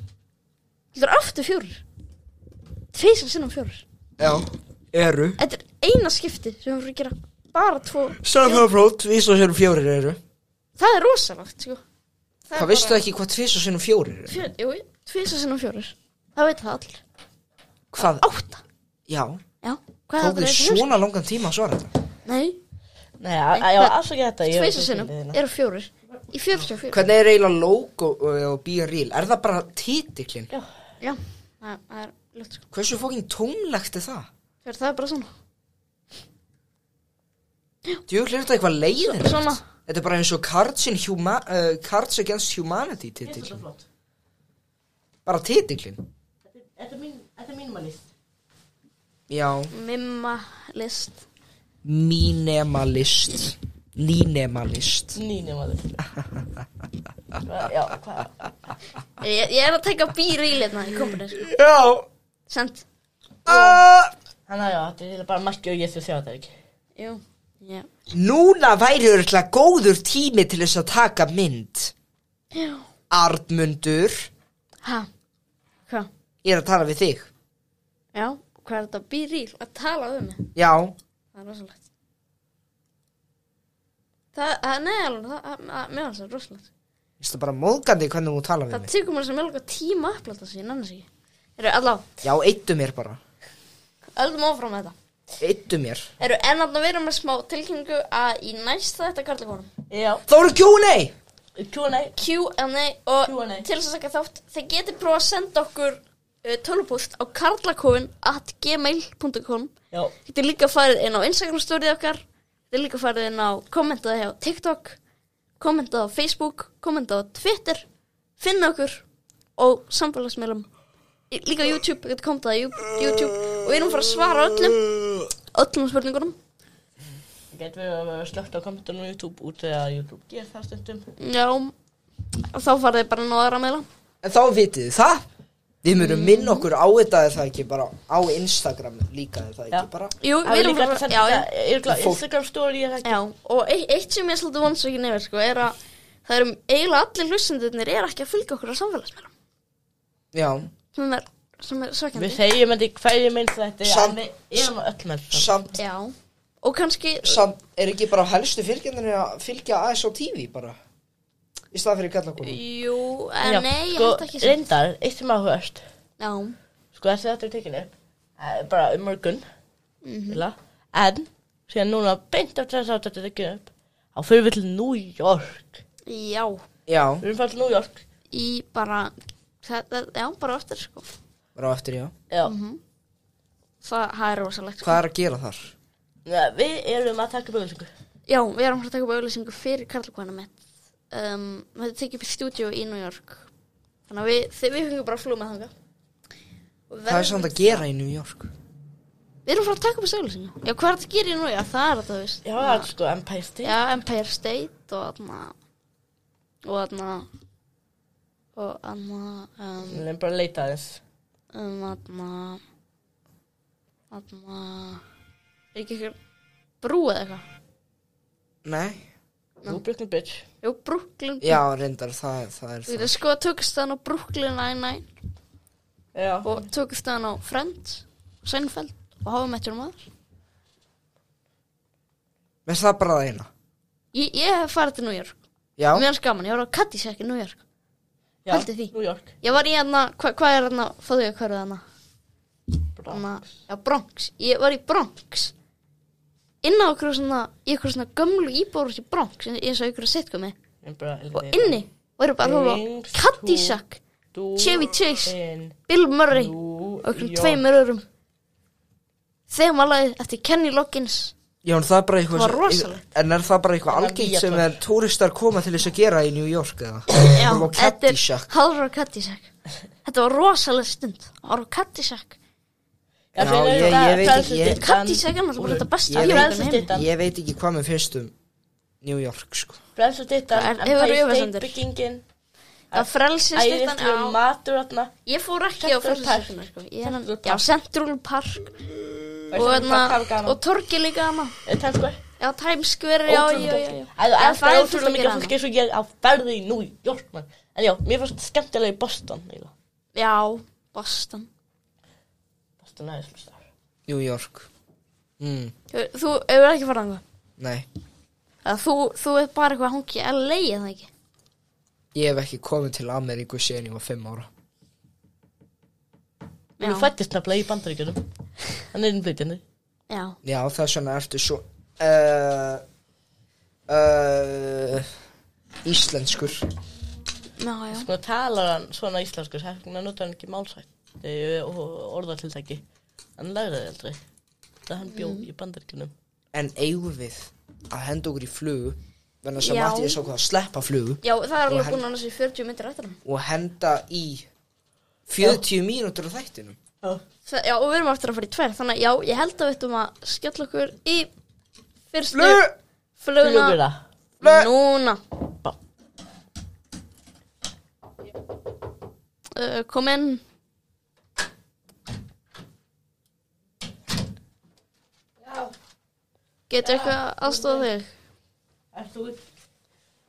B: Það er aftur fjórir Tveisar sinnum fjórir
D: Já, eru
B: Þetta er eina skipti sem við fyrir að gera bara tvo
D: Samfélagflót, við svo sérum fjórir eru
B: Það er rosalegt sko Það
D: Hvað veistu ekki hvað tvís og sinnum fjórir eru?
B: Fjör, jú, tvisar sinnum fjórir Það veit það allir
D: Hvað?
B: Átta
D: Já,
B: Já, hvað er það
D: tók þið
B: sem
D: svona langan tíma að svara þetta
B: Nei,
C: Nei, að- að- já, afsakið þetta. ég var
B: tvisar
C: ekki
B: sinnum
C: með hérna.
B: eru fjórir Í 44
D: Hvernig er eiginlega logo uh, og be real? Er það bara titillin?
B: Já, það það er ljótt sko
D: Hversu fókin tónlegt er það?
B: Fyrir það er bara svona
D: Djögulega er þetta eitthvað leiðinlegt
B: Svona
D: Þetta er bara eins og Cards, in huma, uh, Cards Against Humanity titillin Bara titillin?
C: Þetta er mín, þetta er mín mannist.
D: Já
B: Mimma list
D: Mínemalist Nínemalist
C: Nýnum að þetta. Já, hvað?
B: Ég, ég er að taka býr í leitna í kompunni sko
D: Já
B: Send
D: uh,
C: Þannig að já, þetta er eiginlega bara marki og ég þurfti að sjá þetta ekki.
B: Jú, já
D: Núna væri örgulega góður tími til þess að taka mynd.
B: Já
D: Arnmundur,
B: Ha, hvað?
D: ég er að tala við þig.
B: Já, hvað er þetta býr í að tala um mig
D: Já,
B: það er rosalegt það, það nei alveg það, það, það, mér finnst það rosalegt
D: veistu bara móðgandi hvernig þú tala við
B: það
D: mig
B: tekur mér sem mjög langar tíma að upplata sig en annars ekki eru allá,
D: Já, eittu mér bara
B: öldum áfram með þetta
D: Eittu mér
B: eru enn að vera með smá tilkynningu að í næsta þetta karlakonum
C: Já,
D: Þá eru Q&A
C: Q&A
B: Q&A og
C: Q&A.
B: til þess að taka þátt þeir geti prófa að senda okkur uh, tölupúst á karlakofin at gmail.com
C: Já,
B: Þetta er líka farið inn á Instagram stórið okkar Þetta er líka farið inn á kommentaði hjá TikTok kommentaði á Facebook kommentaði á Twitter finna okkur og samfélagsmeilum líka á YouTube, þetta komið það á Jú- YouTube og við erum að fara að svara öllum öllum spurningunum
C: getur við að slögt á kommentunum á YouTube út þegar YouTube ger það stundum
B: Já, og þá farið þið bara inn á aðra meila
D: En þá vitið þið það Við mjögum minna okkur á þetta er það ekki bara á Instagram líka er það ekki
C: Já.
D: bara
B: Jú,
C: Það er
B: erum að
C: líka að
B: fara-
C: senda
B: já, já.
C: þetta örugglega Instagram story er ekki
B: Já, og e eitt sem ég er svolítið vonsvökin yfir sko, er að það eru eiginlega allir hlustendurnir er ekki að fylgja okkur á samfélagsmeilum
D: Já,
B: sem er, sem er svakandi
C: Við segjum þetta í hverju minnst þetta
D: Samt-
C: en við erum á öll með það
D: samt,
B: Já, og kannski
D: samt er ekki bara helstu fylgjandunni að fylgja aðeins á TV bara Í stað fyrir kalla okkur
B: Jú, en
C: Já,
B: nei, ég
C: sko,
B: held ekki sem
C: Reyndar, eitt sem áhugast
B: Já,
C: Sko þessi þetta er tekinu Bara um morgun
B: Mhm.
C: eiginlega. En, síðan núna beint eftir þess að þetta er tekinu upp Þá fyrir við til New York
B: já,
D: Já,
C: Við erum fyrir til New York
B: í bara það, það, Já, bara eftir sko
D: bara á eftir já
C: Já
B: Mhm. Það, það er rosalegt sko.
D: Hvað er að gera þar?
C: Ja, Við erum að taka bjögulsingu
B: Já, við erum að fara að taka upp auðlýsingu fyrir karlkvæðana mitt um, Við höfum tekið upp í stúdíu í New York Þannig að við, þið, við fengum bara flú með þanga
D: Hvað er samt að gera í New York?
B: Við erum að fara að taka upp þessu auðlýsingu Já, hvað er þetta að gera í New York? Það er þetta, þú veist
C: Já, það er sko Empire State
B: Já, Empire State og þarna og þarna og þarna um,
C: Við erum bara að leita aðeins
B: um aðna aðna er ekki eitthvað brú eða eitthvað
D: Nei
C: Nú Brooklyn Bridge
B: jú, Brooklyn
D: Já, reyndar, það, það er
B: þú
D: það
B: getur sko að tökast þann á Brooklyn Nine-Nine
C: Já
B: og tökast þann á Friends Seinfeld og hafa með tjónum aður
D: Mér finnst það bara það eina
B: ég, ég hef farið til New York
D: Já,
B: mér er skaman, ég var á Caddyshack í New York
C: Já,
B: Haldið því.
C: New York
B: ég var í hérna, hvað hva er hérna fóðu ég hverju hérna
C: Bra.
B: Anna, Hérna, já, Bronx, ég var í Bronx inn á okkur svona í okkur svona gömlu íbúrus í Bronx eins og ykkur að setja með
C: Við erum bara að
B: og
C: leita.
B: inni voru bara að
C: Things
B: horfa á Caddyshack,
C: Do
B: Chevy Chase.
C: in
B: Bill Murray og
C: New
B: okkur
C: York.
B: tveimur öðrum þeim var lagið eftir Kenny Loggins
D: já en það er bara eitthvað
B: Það var
D: sem-
B: rosalegt.
D: En er það bara eitthvað
C: En að
D: algengt
C: nýja
D: sem
C: tól.
D: er túristar koma til þess að gera í New York eða?
B: já,
D: Horfa á
B: þetta er
D: Caddyshack.
B: Halvor Caddyshack þetta var rosalega stund að horfa á Caddyshack
C: Já,
D: Já,
C: síðan er
D: ég-
C: þetta
D: ég veit ekki, ég-
C: frelsisstyttan.
B: Caddyshack er náttúrulega bara þetta besta
D: Ég veit-
B: bíómynd
C: Frelsisstyttan.
D: Ég veit ekki hvað mér finnst um New York sko
C: Frelsisstyttan,
B: Það er- hefur
C: Empire State
B: efasemdir.
C: byggingin
B: það frelsist þetta
C: Æðislega matur þarna
B: Ég fór ekki á
C: Central Park.
B: fyrstarsökuna sko. Ég er hann-
C: Central Park.
B: Já, Central Park Og,
C: Veistu hvað
B: hérna-
C: það er gaman?
B: og torki líka hana
C: Times Square
B: Já, Times Square, já, já, já, já.
C: Ótrúlega
B: Já,
C: Það er
B: fullt að
C: ótrúlega mikið
B: gera
C: fólk eins og ég á ferði í New York man. En já, mér fannst skemmtilega í Boston eiginlega.
B: hana. Já, Boston
C: Boston er svona starf
D: New York mm,
B: Þú þú hefur ekki farað þangað
D: Nei,
B: Eða Þú, þú er bara eitthvað hangi í LA eða ekki
D: ég hef ekki komið til Ameríku síðan ég var fimm ára
B: Já.
C: Mér fættist nefnilega í bandaríkjunum Hann er innflytjandi
B: Já,
D: Já, þess vegna ertu svo uh, uh, Íslenskur
B: já, já
C: Sko talar hann svona íslensku Hérna notar hann ekki málsætti og orðatiltæki Hann læraði aldrei Það hann bjó
B: Mm.
C: í bandaríkjunum
D: En eigum við að henda okkur í flugu Þannig að sem
B: Já.
D: Matti ég sá hvað að sleppa flugu
B: Já, það er alveg
D: hann-
B: búin annars í 40 myndir eftir hann
D: og henda í 40 mínútur á þættinum
B: Það- Já, og við erum aftur að fara í tvær Þannig að já, ég held að við ættum að skella okkur í fyrstu
D: Flug!
B: fluguna
C: Flugvila
B: Núna
C: Bá.
B: uh, Kom inn Getur eitthvað aðstofa þig?
C: Er þú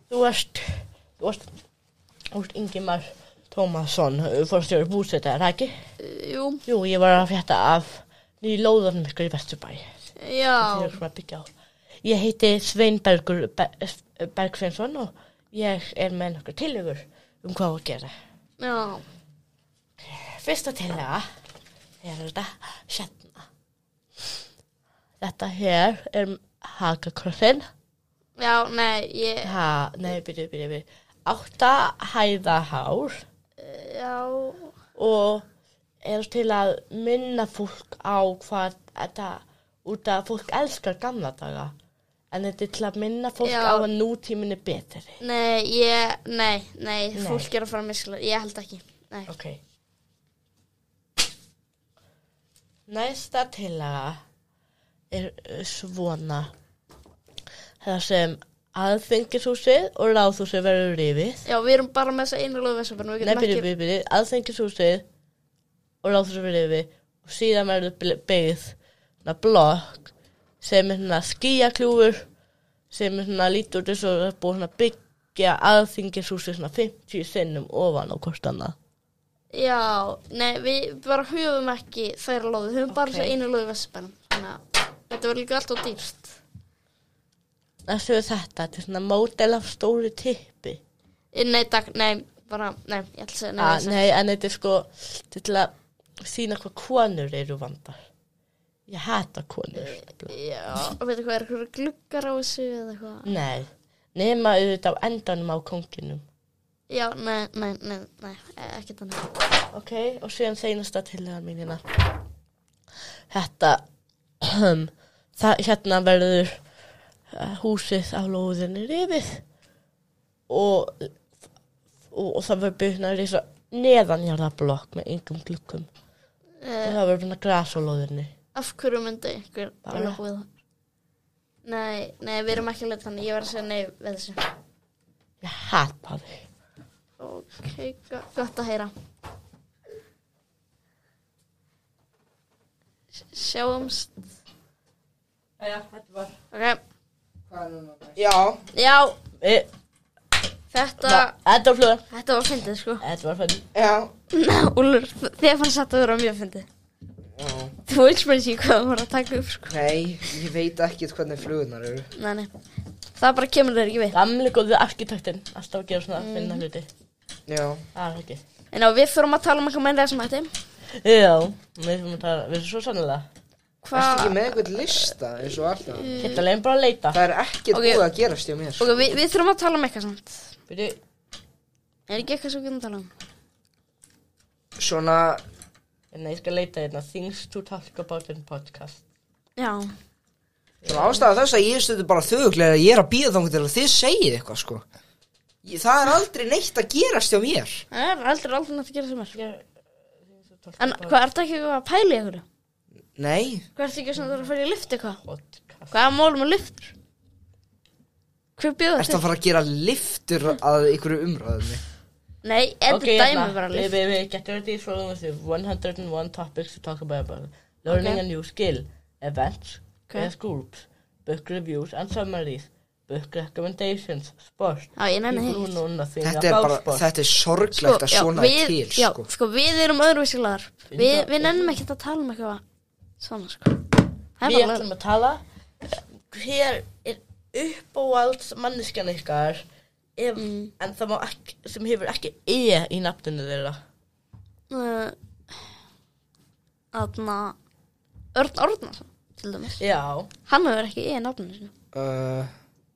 C: Þú varst Þú varst Þú varst Ingimar Tómasson Fórstjóri búsetta, er það ekki?
B: Uh, Jú,
C: Jú, ég var að frétta af í lóðanum ykkur í Vesturbæ
B: Já,
C: þegar svona byggja á Ég heiti Sveinbergur Be- Bergsveinsson og ég er með nokkur tillögur um hvað á að gera
B: já,
C: Fyrsta tillaga er þetta hérna Þetta hér er hakakrossin
B: já, nei, ég,
C: ha, Nei, byrju, byrju, byrju Átta hæðahár
B: já,
C: og er til að minna fólk á hvað þetta út að fólk elskar gamla daga en þetta er til að minna fólk
B: Já.
C: á að nútíminn er betri
B: nei, ég, nei, nei,
C: Nei.
B: fólk er að fara að miskla, ég held ekki, nei,
C: ok næsta tillaga er uh, svona það sem aðfengishúsið og ráðhúsið verður rifið
B: já, við erum bara með þessa einu lögu vesabæðinu, við
C: Nei,
B: getum
C: byrju,
B: ekki,
C: byrju, byrju, aðþengishúsið og ráðhúsafyrir yfir og síðan verður bl- byggð svona blokk sem er svona skýjakljúfur sem er svona lítið út eins og það er búið svona að byggja aðþengishúsið svona 50 sinnum ofan á hvort annað.
B: já, nei, við bara höfum ekki þær lögu, við höfum bara þessa einu lögu vesabæðinu, þannig að þetta verður líka alltaf dýrt,
C: Þessu er þetta, þetta er svona módel af stóru tippi.
B: Eh, nei, takk, nei, bara, nei, ég ætla að segja, nei, ég ætla
C: Ah,
B: að segja.
C: nei, en þetta er sko þetta er til að sína hvað konur eru vandar. Ég hata konur. nefnilega.
B: Eh, já, og veitu hvað, er eitthvað gluggar á þessu eða eitthvað,
C: Nei, nema auðvitað á endanum á konginum.
B: já, nei, nei, nei, nei, e, ekki þannig.
C: Ok, og síðan seinasta tillagan mín hérna. Þetta, það, hérna verður eh, húsið á lóðinni rifið og, og, og það verður byggt að risa neðanjarðablokk með yngum glukkum.
B: Eh,
C: Og það verður svona gras á lóðinni.
B: Af hverju myndi einhver
C: Bara.
B: vilja búið það? Nei, nei, við erum ekki að leta þannig, ég var að segja nei við þessu.
C: Ég hata þig.
B: Ok, go- gott að heyra. S- Sjáumst,
C: Já, þetta var...
B: ok,
D: Já,
B: já,
C: Þetta,
B: þetta,
C: þetta var flöður.
B: þetta var fyndið sko.
C: Þetta var fyrir.
D: já
B: Úlur, þér fannst þetta að vera mjög fyndið.
D: Já.
B: Þú veist mér ekki hvað það var að taka upp sko.
D: Nei, ég veit ekkert hvernig flugunar eru
B: Nei, nei, það bara kemur þér ekki við.
C: Gamli góðið arkitektinn. Alltaf að gera svona mm. finna hluti.
D: Já,
C: Það er ekki.
B: En já, við þurfum að tala um eitthvað mennlega sem þetta.
C: Já, við erum að tala, við erum svo sannlega.
D: ertu
B: Hvað,
D: ekki með einhvern lista eins og alltaf
C: Hérna leiðum bara að leita.
D: Það er ekkert
B: Mm. Ok.
D: búið að gerast hjá mér
B: ok, við, við þurfum að tala um eitthvað samt.
C: Byrju,
B: Er ekki eitthvað sem við getum að tala um?
D: Svona,
C: hérna ég skal leita hérna Things to talk about in podcast.
B: Já,
D: svona ástæða þess að ég stöðu bara þöglega Ég er að býða þangur til að þið segið eitthvað sko ég, Það er aldrei neitt að gerast hjá mér
B: það er aldrei aldrei nátt að gera sem er.
C: Ég-
B: En hvað, ertu ekki eitthvað að pæla í ykkur?
D: Nei,
B: Hvað ertu ekki svona að fara í lyft eitthvað?
C: Podcast.
B: Hvað er málum að lyftur? Hver bjóður
D: ertu
B: þetta?
D: að fara að gera liftur að ykkur umræðinni
B: Nei, þetta okay, dæmi
D: hérna,
B: bara
C: hérna. við,
B: lyft.
C: við, við getum þetta í svona með því 101 topics to talk about, about learning
B: Ok.
C: a new skill, events,
B: Ok.
C: guest groups, book reviews and summaries, book recommendations, sport,
B: Já, ég nenni því. Sko,
C: people who know nothing
D: Þetta er
C: about
D: bara,
C: sport.
D: þetta er sorglegt að
B: já,
D: svona
B: við,
D: er til
B: já,
D: sko
B: sko, við erum öðruvísi lagar. Við,
C: Fynda-
B: við nennum ekki að tala um eitthvað svona, sko. Það
C: Við
B: er bara
C: ætlum að tala Hér er uppávalds manneskjan ykkar ef,
B: Mm.
C: en það má ekki, sem hefur ekki E í nafninu þeirra
B: lög. Eh, Þarna, Örn Ornarsson, til dæmis.
C: Já
B: Hann hefur ekki í nafninu sinu.
D: uh,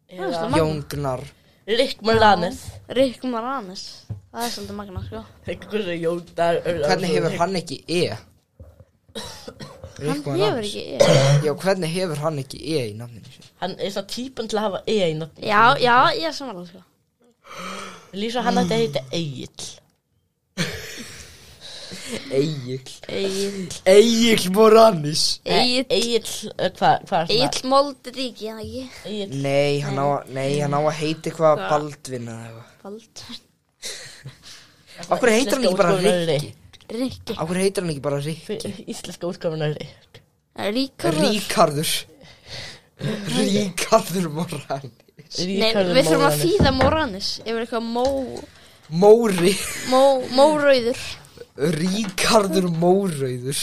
C: eða
D: Jóngnar
C: Rick Moranis
B: Rick Moranis. Það er svolítið magna, sko.
C: Einhversu jótar
D: Hvernig hefur hann ekki E?
B: Hann
D: Ríkmaður
B: hefur
D: Anders.
B: ekki E.
D: Já, hvernig hefur hann ekki E í nafninu sín?
C: Hann er svona típan til að hafa E í nafninu
B: Já, já, ég er samanlega sko
C: Lísa hann ætti að heita Egil
D: Egil
B: Egil
D: Egil Moranis
B: Egil
C: Egil, eh, hvað hva er það?
B: Egil Moldrík, ég ekki
C: Egil
D: Nei, hann á, að- nei, hann á að heita eitthvað
B: Hvað?
D: Baldvin eða eitthvað
B: Baldur
D: Af hverju heitir hann ekki bara Rikki?
B: Rikki
D: Af hverju heitir hann ekki bara Rikki?
C: Íslenska útgáfunar Rick
B: Ríkarður
D: Ríkarður Ríkarður Moranis
B: Nei, við þurfum að þýða Moranis Yfir eitthvað mó
D: Móri
B: Mó, mórauður
D: Ríkarður Mórauður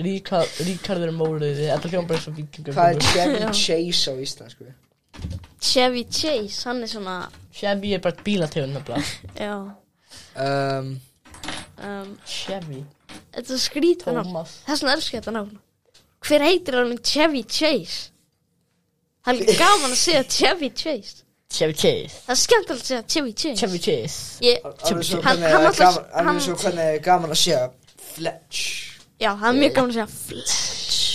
C: Ríkar, Ríkarður Móriði, þetta hljóma bara eins og vikingum
D: Hvað er Chevy Chase á íslensku?
B: Chevy Chase, hann er svona
C: Chevy er bara bílategund nefnilega
B: Já
D: Um,
B: um,
C: Chevy,
B: Þetta er skrítið nafn
C: Thomas
B: Þess vegna elsku ég þetta nafn Hver heitir hann um Chevy Chase? Það er líka gaman að segja Chevy Chase
C: Chevy Chase,
B: Það er skemmt að segja Chevy Chase
C: Chevy Chase
B: Ég,
D: alveg svo
B: Hann-
D: hvernig
B: hann
D: er
B: alltaf-
D: gaman- alveg
B: hann-
D: svo hvernig er gaman að segja Fletch
B: Já, það er mjög gaman að segja Fletch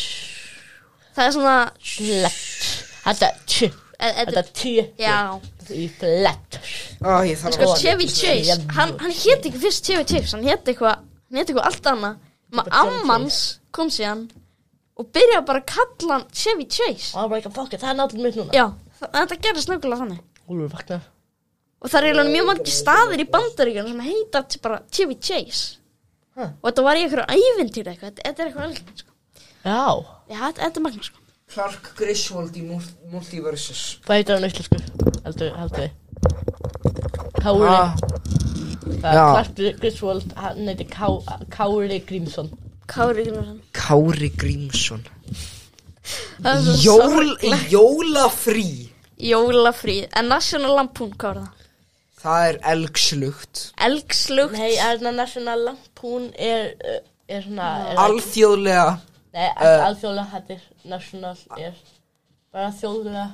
B: Það er svona
C: Flett, þetta er t,
B: e- e-
C: þetta er t
B: Já,
C: í flett
D: Ó, ég þarf
B: sko
D: að
B: Chevy Chase
C: Jævlar.
B: Hann, hann hétt ekki fyrst Chevy Chase Hann hétt eitthvað Hann hétt eitthvað allt annað Maður
C: bara Chevy
B: ammans kom síðan Og byrjaði bara að kalla hann Chevy Chase
C: Og það var ekki að fokka, það er náttúrulega mitt núna
B: Já, þa- þetta gerðist nákvæmlega þannig
C: Úlfur vaknar
B: Og það er eiginlega mjög margir staðir í bandaríkjunum sem heita til bara Chevy Chase.
C: Huh.
B: Og þetta var í einhverju ævintýri eitthvað, þetta- þetta er eitthvað algjörn, sko.
C: Já,
B: Já, þetta þetta er magna, sko.
D: Clark Griswold í Mult- Multiversus
C: hvað heitir hann íslensku? Heldur, heldur þið Kári
D: Ah.
C: Það er
D: Já.
C: Clark Griswold, hann heitir Ká, Kári Grímsson
B: Kári Gunnarsson.
D: Kári Grímsson
B: Það er svo
D: Jól,
B: sorglegt.
D: Jólafrí
B: Jólafrí, en National Lampoon, hvað var það?
D: Það er elgslugt
B: Elgslugt.
C: Nei, er það national lampoon er, uh, er svona er,
D: Alþjóðlega
C: Nei, uh, alþjóðlega hættir national er bara þjóðlega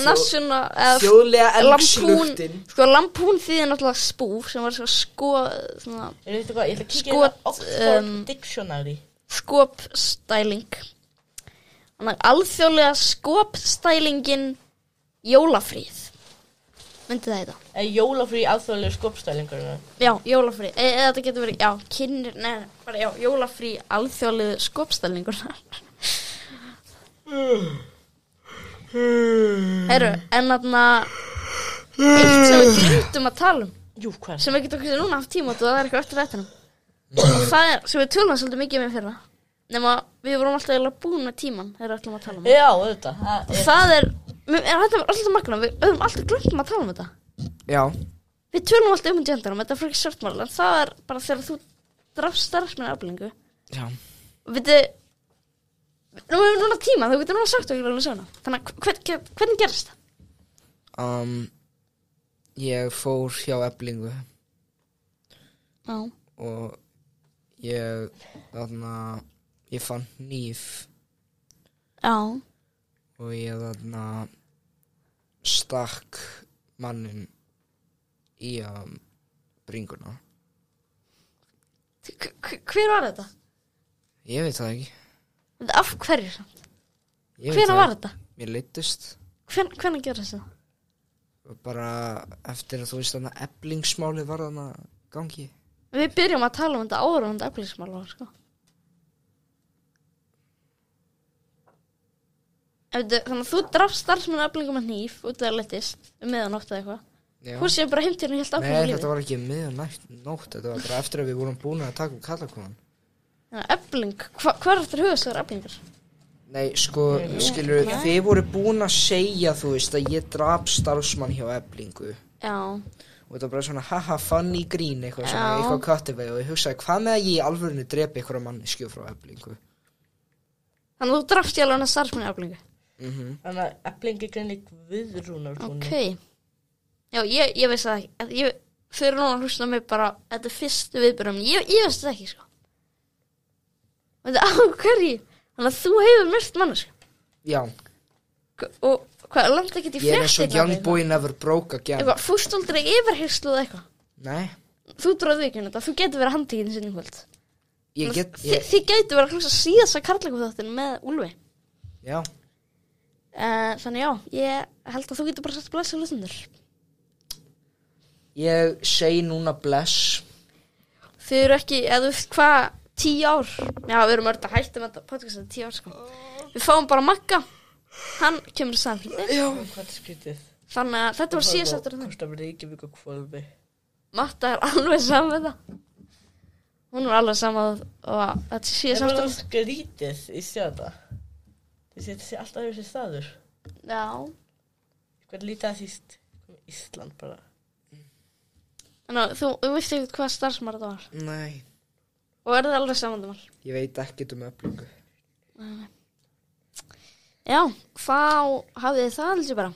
B: National, eða
D: Þjóðlega
B: Lampoon,
D: elgslugtin
B: sko Lampoon þýðir náttúrulega spúf sem var svo sko, svona,
C: Er þetta hvað, ég ætla að kíkja
B: Skot,
C: í Oxford
B: um,
C: Dictionary
B: skopstæling. Þannig að alþjóðlega skopstælingin Jólafríð. Myndi það heita?
C: Er Eh, jólafrí alþjóðlega skopstælingur
B: Já, jólafrí, e eða þetta getur verið, já, kynir, neða, bara já, jólafrí alþjóðlegu skopstælningur. Herru, en þarna, eitt sem við glimtum að tala um,
C: Jú, hvað er
B: sem við getum okkur núna haft tíma út og það er eitthvað eftir þetta. Og það er, sem við tölum svolítið mikið með fyrir það, nema við vorum alltaf eiginlega búin með tíman þegar við ætlum að tala um það.
C: Já, þetta Það er
B: Það er, mér- er þetta er alltaf magna, við höfum alltaf glimtum að tala um þetta.
D: Já
B: Við tölum alltaf um hundi endanum, þetta er fyrir ekki svartmál en það er bara þegar þú drafst starfsmenn aflingu
D: Já
B: og veitu nú hefur núna tíma, þú getur núna sagt okkur alveg svona þannig að hver, hver, hvernig gerst það?
D: um, Ég fór hjá eblingu
B: Já,
D: og ég þarna ég fann nýf
B: já,
D: og ég þarna stakk mannin í um, bringuna
B: K- k- hver var þetta?
D: ég veit það ekki
B: Veitu, Af hverju samt?
D: Ég veit
B: Hvena
D: það
B: var
D: ekki.
B: þetta?
D: mér leittist
B: Hvern, hvernig gerðist það?
D: bara eftir að þú veist þarna eblingsmáli var þarna gangi
B: Við byrjum að tala um þetta áraðandi eflismál var sko En veitu, Þannig að þú drafst starfsmenn aflingu með nýf út að letist um meðanótt eða eitthvað
D: Já.
B: Hún sé bara heimtíðin og helt áfram í
D: Nei,
B: lífið.
D: þetta var ekki miðanætt nótt, þetta var bara eftir að við vorum búin að taka um kallakon
B: Þannig að Efling, hva, hvað er eftir hugastaður Eflingar?
D: Nei, sko, skilur, þið voru búin að segja, þú veist, að ég drap starfsmann hjá eblingu
B: Já,
D: og þetta var bara svona haha funny grín eitthvað svona,
B: Já.
D: eitthvað kattevei og ég hugsaði hvað með að ég í alvörinu drepi eitthvað manneskju frá eblingu
B: þannig að þú drafst ég alveg hann að starfsmenni Eflingu
D: mm -hmm.
C: Þannig að eblingi greinleik viðrúnar
B: Ok Já, ég, ég veist það ekki Þetta- ég, Þau eru núna að hlusta á mig bara Þetta er fyrstu viðbyrjum ég, ég veist það ekki, sko Þetta á hverju Þannig að þú hefur myrkt mannesk
D: Já,
B: Og hvað, langt ekki til
D: ég er eins og young boy never broke again
B: Eitthvað, fúst aldrei yfirherslu eða eitthvað
D: Nei,
B: Þú dróðu ekki um þetta, þú getur verið handtíkin sinni í kvöld
D: ég get,
B: Þi,
D: ég,
B: Þið getur verið að hlusta síðasta karlækum þáttin með Úlfi
D: já
B: Uh, þannig já, ég held að þú getur bara sagt blessa hlutundur.
D: Ég segi núna bless
B: Þau eru ekki, eða þú veist hvað, tíu ár. Já, við erum öll að hætta með þetta podcastið tíu ár, sko. Við fáum bara Magga, hann kemur í samfélagi.
C: Hvað er skrítið?
B: Þannig að þetta var síðast eftir þannig.
C: Kostar Reykjavík og Kvolvi
B: Matta er alveg saman með það. Hún er alveg saman með það og að þetta er
C: Ég
B: síðast
C: var
B: eftir
C: það skrítið í stjáta Þetta sé alltaf þessi staður
B: þannig. Já,
C: Hvernig lítið að síst Ísland bara
B: þannig að þú, þú veist ekkert hvað starfsmar þetta var.
D: Nei
B: Og er það alveg samandumál?
D: Ég veit ekkert um öflöku.
B: Já, hvað hafið þið það alveg bara?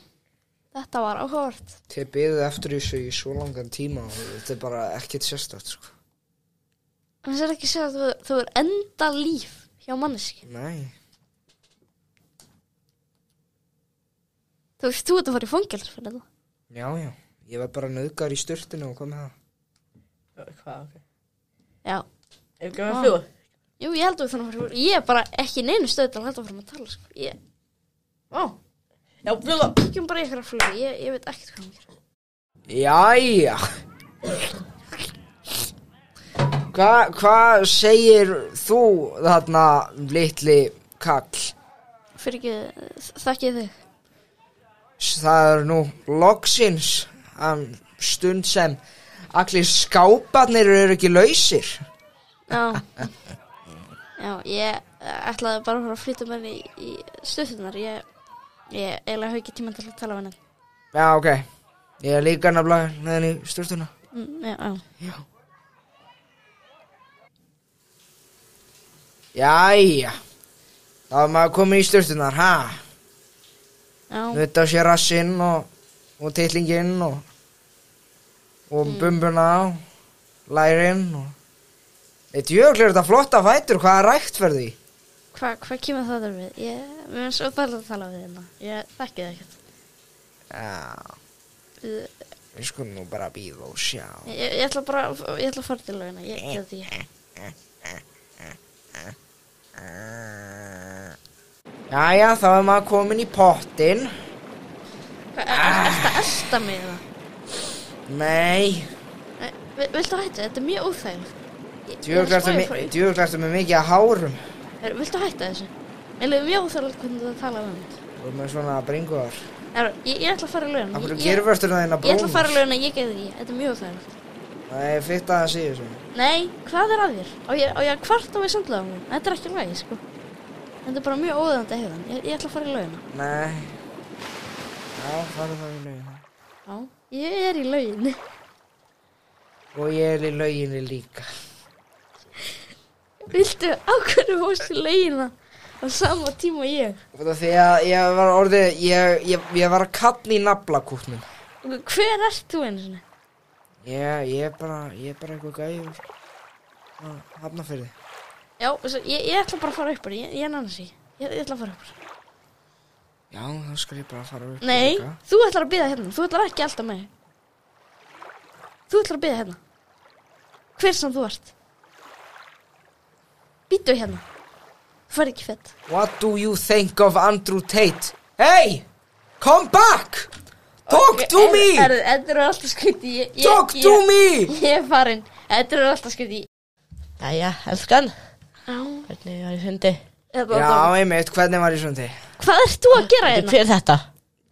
B: Þetta var áhugavert.
D: Þeir byrðu eftir þessu í svo langan tíma og þetta er bara ekkert sérstætt, sko.
B: En þess er ekki að segja að þú, þú er enda líf hjá manneski.
D: Nei.
B: Þú veist, þú ert að fara í fangels fyrir þetta.
D: Já, já. Ég var bara nöðgar í styrtinu og kom með það.
C: Hvað, ok.
B: Já.
C: Ef ekki að fljúa?
B: Jú, ég held að við þannig að fara í fangels. Ég er bara ekki í neinu stöð til að halda fyrir að tala, sko. Ég
C: Ó. Já, fljúa.
B: ekki um bara ykkur að fluga. Ég, ég veit ekkert hvað hann gerir.
D: Jæja. Hvað hva segir þú þarna litli kall?
B: Fyrir ekki, þakkið þig.
D: Það er nú loksins um, stund sem allir skáparnir eru ekki lausir.
B: Já Já, ég eh, ætlaði bara að fara að flytja með henni í, í stöðunar Ég, ég eiginlega hef ekki tíma til að tala við henni
D: Já, ok. Ég er líka nafnilega með henni í styrtuna.
B: mm, Já, já
D: Jæja. Þá er maður komið í styrtunar, ha?
B: Já,
D: Nutta sér rassinn og, og titlinginn og, og
B: Mm.
D: bumbuna og lærin og Eitt jökli er þetta flotta fætur, hvað er rækt fyrir því?
B: hvað hva kemur það þar við? Ég, mér finnst óþægilegt að tala við hérna Ég þekki það ekkert
D: Já,
B: Ég,
D: við skulum nú bara bíða og sjá.
B: ég, ég ætla bara, að- ég ætla að fara til lögina Ég get því ekki
D: Eh. Jæja, þá er maður komin í pottin.
B: Hvað, er er- ertu að elta mig það?
D: Nei,
B: Viltu hætta? Þetta er mjög óþægilegt Ég- ég er að spá í að fara í-
D: djúrglæstu með mikið að hárum.
B: Heyrðu, Viltu hætta þessu? Mér leiði mjög óþægilegt hvernig þú ert að tala við henni
D: Þú erum með svona bringuðar.
B: Heyrðu, Ég, ég ætla að fara í lögina
D: Akkur
B: Ég-
D: gerur verður það eina
B: Ég ætla að fara að
D: brúnar.
B: lögna, ég geði því, þetta er mjög þærlegt.
D: Það er fyrst að það sé þessu.
B: Nei, hvað er að þér? Á ég, á ég að kvarta við samlega hún? Þetta er ekki lægi, sko. Þetta er bara mjög óðandi hefðan. Ég, ég ætla að fara í lögina.
D: Nei. Já, farðu það í laugina.
B: Já, ég er í löginni.
D: Og ég er í lauginni líka.
B: Viltu, á hverju hóst í lögina á sama tíma og ég?
D: Út af Því að ég var orðið, ég, ég, ég var að kalla í naflakútnum.
B: Og Hver ert þú einu sinni?
D: Ég, ég er bara, ég er bara eitthvað gæður. Hafna fyrir þið.
B: Já, þessu, ég, ég ætla bara að fara upp bara, ég, ég nann þessi. Ég, ég ætla að fara upp bara.
D: Já, þá skal ég bara fara upp.
B: Nei,
D: líka.
B: þú ætlar að býða hérna, þú ætlar ekki alltaf mig. Þú ætlar að býða hérna. Hver sem þú ert. Býttu hérna. Þú fær ekki fett.
D: What do you think of Andrew Tate? Hey! Come back! Talk to me!
B: Er, er, þetta eru alltaf skriti. Ég, ég,
D: Talk
B: ég,
D: to me!
B: Ég er farinn. Þetta eru alltaf skriti.
C: Jæja, elskan.
B: Já.
C: Hvernig var ég fundi?
B: Þetta,
D: Já, einmitt, hvernig var ég sundi?
B: Hvað ert þú að gera hérna?
C: Hver er þetta?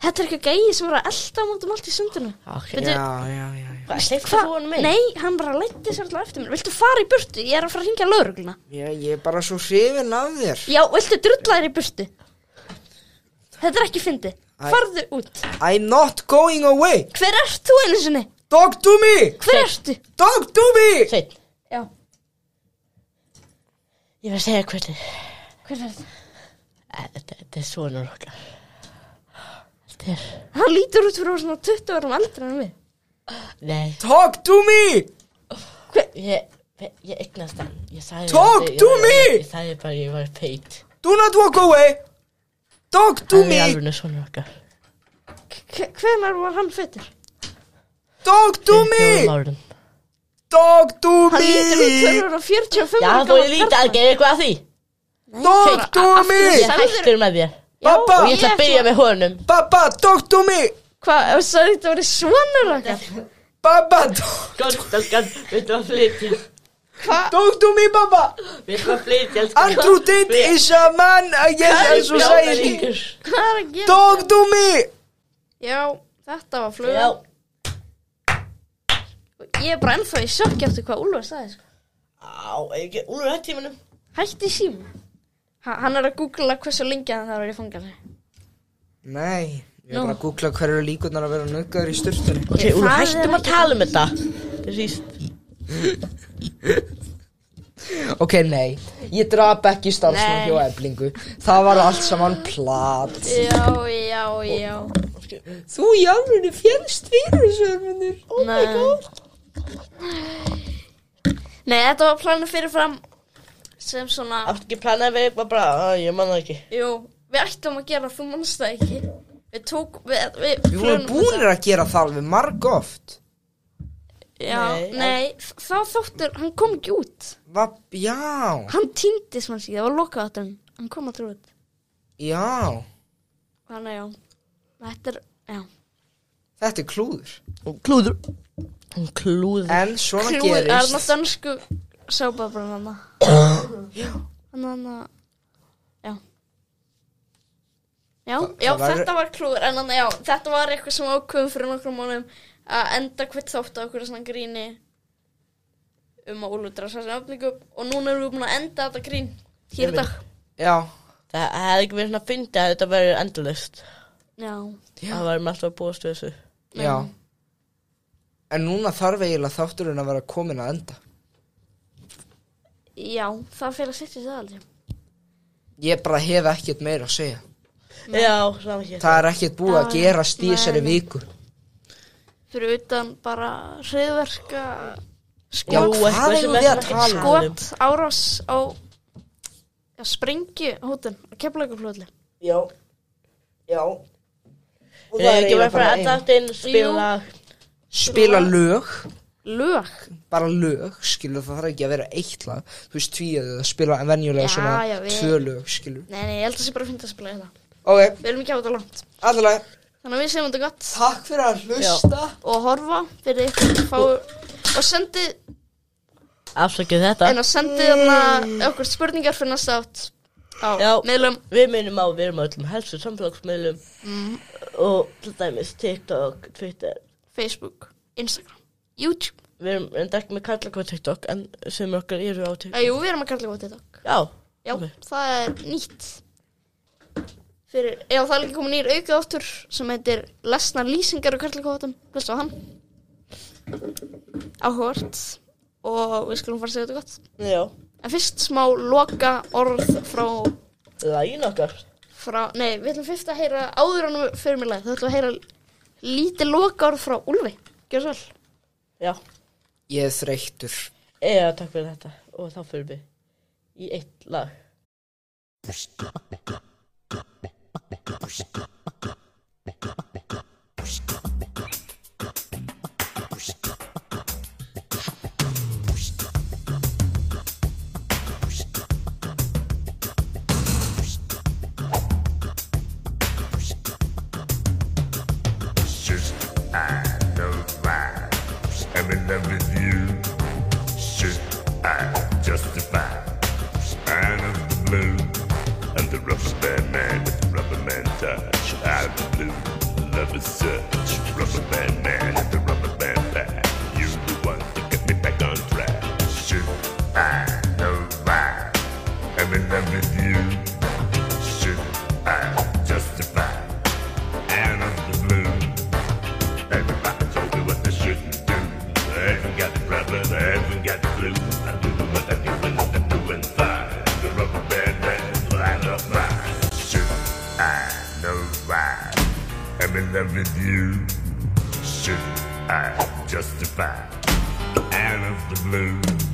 B: Þetta er eitthvað gæi sem var að elda á mótum allt í sundinu.
C: Ok.
B: Veitu-
D: Já, já, já, já.
C: Hvað, hleyptu
B: Hva-
C: þú honum inn?
B: Nei, hann bara lætti sér alltaf eftir mér. Viltu fara í burtu? Ég er að fara að ringja lögregluna.
D: Ég, ég er bara svo hrifin af þér.
B: Já, viltu drulla þér í burtu? Þetta er ekki fyndi. Farðu út.
D: I'm not going away!
B: Hver ert þú einu sinni?
D: Talk to me!
B: Hver ertu?
D: Talk to me!
C: Sveinn,
B: Já,
C: ég var að segja hvernig.
B: hver er þetta?
C: Eh, Þetta þetta er svonur okkar. Þetta er...
B: Hann lítur út fyrir að vera svona 20 árum aldrei en við.
C: Nei,
D: Talk to me!
C: ég... Ég eignast hann. Ég sagði...
D: Talk
C: ég-
D: to
C: ég-
D: me!
C: Ég sagði bara ég var feit.
D: Do not walk away! Talk to
C: Hann er
D: me!
C: alveg svonur okkar.
B: Hvenar var hann fötur?
D: Talk to me!
C: Málum.
D: Talk to
B: Hann lítur út fyrir
D: me!
B: að vera 45
C: Já,
B: ára
C: þú
B: gamall
C: lítið að
B: karlmaður.
C: gera eitthvað að því.
D: Talk to me!
C: Ég er hættur með þér.
D: Pappa!
C: Og ég ætla að byrja með honum.
D: Pappa, talk to me!
B: Hvað, ef þú sagði þetta verið svona rakar?
D: Pappa, talk-
C: Gott, elskan, við ætlum að flytja.
D: talk to me, pappa!
C: Við ætlum að flytja, elskan.
D: Andrew Tate is a man against
C: Við-
D: society.
C: Við-
B: Hvað er að gera?
D: Talk to me.
B: Já, þetta var
C: Já,
B: flugan. Ég er bara ennþá í sjokki eftir hvað Úlfur sagði, sko.
C: á, ekki, Úlfur hætti tímanum.
B: Hætti síma. Ha, hann er að googla hversu lengi hann þarf að vera í fangarni.
D: Nei, ég er bara að googla hverju eru líkurnar að vera nöggar í styrtunni.
C: Ok, Úlfur,
B: Það er
C: hættum að
B: ekki-
C: tala um þetta. Þetta er síst.
D: Ok, nei, ég drap ekki starfsmann
B: Nei.
D: hjá eblingu Það var allt saman plat
B: Já, já, já
D: Þú í alveg fjellst vírusörmunir oh
B: Nei. Nei, þetta var planið fyrirfram sem svona
C: Áttu ekki planað að vera eitthvað bara, "Ah, ég manna ekki.
B: Jú, við ættum að gera, þú mannst það ekki Við tók, við, við
D: Við vorum búinir að gera það alveg marg oft
B: Já,
C: Nei,
B: nei, þá þóttur, hann kom ekki út
D: Vap, já,
B: Hann týndist mann síðan, það var lokað átturinn Hann kom að trúið
D: já
B: Þannig já, þetta er, já
D: Þetta er klúður
C: Klúður. Klúður.
D: En svona
B: Krúið er hann á
D: gerist
B: dansku sápa bara mamma Þannig að, já Já, já
D: það væri-
B: þetta var klúður En þannig, já, þetta var eitthvað sem ákveðum fyrir nokkrum mánum að enda hvert þátt á okkur svona gríni um að úlutra sæsni afningu og núna erum við búin að enda þetta grín hér í dag
D: Já,
C: Það það hefði ekki verið svona að fyndi að þetta verið endalist.
B: Já,
C: Það verið með alltaf að búast við þessu.
D: já En núna þarf eiginlega þátturinn að vera komin að enda
B: já, það fyrir að setja það aldrei
D: Ég bara hef ekkert meira að segja
C: Já, saman ekki.
D: Það er ekkert búið að gerast í þessari viku
B: fyrir utan bara hriðverka
D: Já,
C: Jú,
D: hvað erum
C: eitthvað sem
D: við að
C: ekki
D: tala um?
C: skoðum.
B: skot árás á já, sprengju hótun á keflaugaflöðli
D: Já, já Og
C: Við hefði Eh, ekki verið að fara að þáttinn spila.
D: Spila lög,
B: lög
D: bara lög, skilur það þarf ekki að vera eitt lag Þú veist, tvíðið að spila en venjulega
B: Já,
D: svona
B: já, við-
D: tvö lög, skilur
B: nei, nei, ég held að það sé bara fint að spila þetta
D: Ok,
B: við erum ekki á þetta langt
D: allavega,
B: þannig að við segjum þetta gott
D: takk fyrir að hlusta
B: og horfa fyrir ykkur fá, og sendi
C: Afsakið þetta.
B: en að sendi þarna okkur spurningar fyrir næsta átt á
C: Já.
B: meðlum
C: Við minnum á, við erum á öllum helstu samfélagsmiðlum og til dæmis TikTok, Twitter.
B: Facebook, Instagram, YouTube
C: Við erum enda ekki með kalla hvað TikTok en sem okkar eru á TikTok.
B: að jú, við erum að kalla þetta
C: Já,
B: já,
C: Ok.
B: það er nýtt fyrir, já, það er líka komin nýr aukið áttur sem heitir lesnar lýsingar og karlakóðum, hlustu á hann áhvert og við skulum fara að segja þetta gott
C: já,
B: en fyrst smá loka orð frá,
C: lægin okkar.
B: frá nei, við ætlum fyrst að heyra áður en við fyrir mér leið, þá ætlum við að heyra lítið loka orð frá Úlfi gjör svo vel,
C: Já,
D: Ég er þreyttur
C: eða takk fyrir þetta og þá fyrir við í eitt lag.
G: Just I love I am in love with you. Just I justify. I of the blue. And the rubber band man with the rubber man touch. I of the blue. Love is such. Rubber band man with the rubber band back. You the one to get me back on track. Just I love I am in love with you. Should I justify? And of the blue. Everybody told me what they shouldn't do. Everyone got the problem, everyone got the flu. I'm doing what I do and I'm doing fine. The rubber band band, line up mine. Should I know why I'm in love with you? Should I justify out of the blue?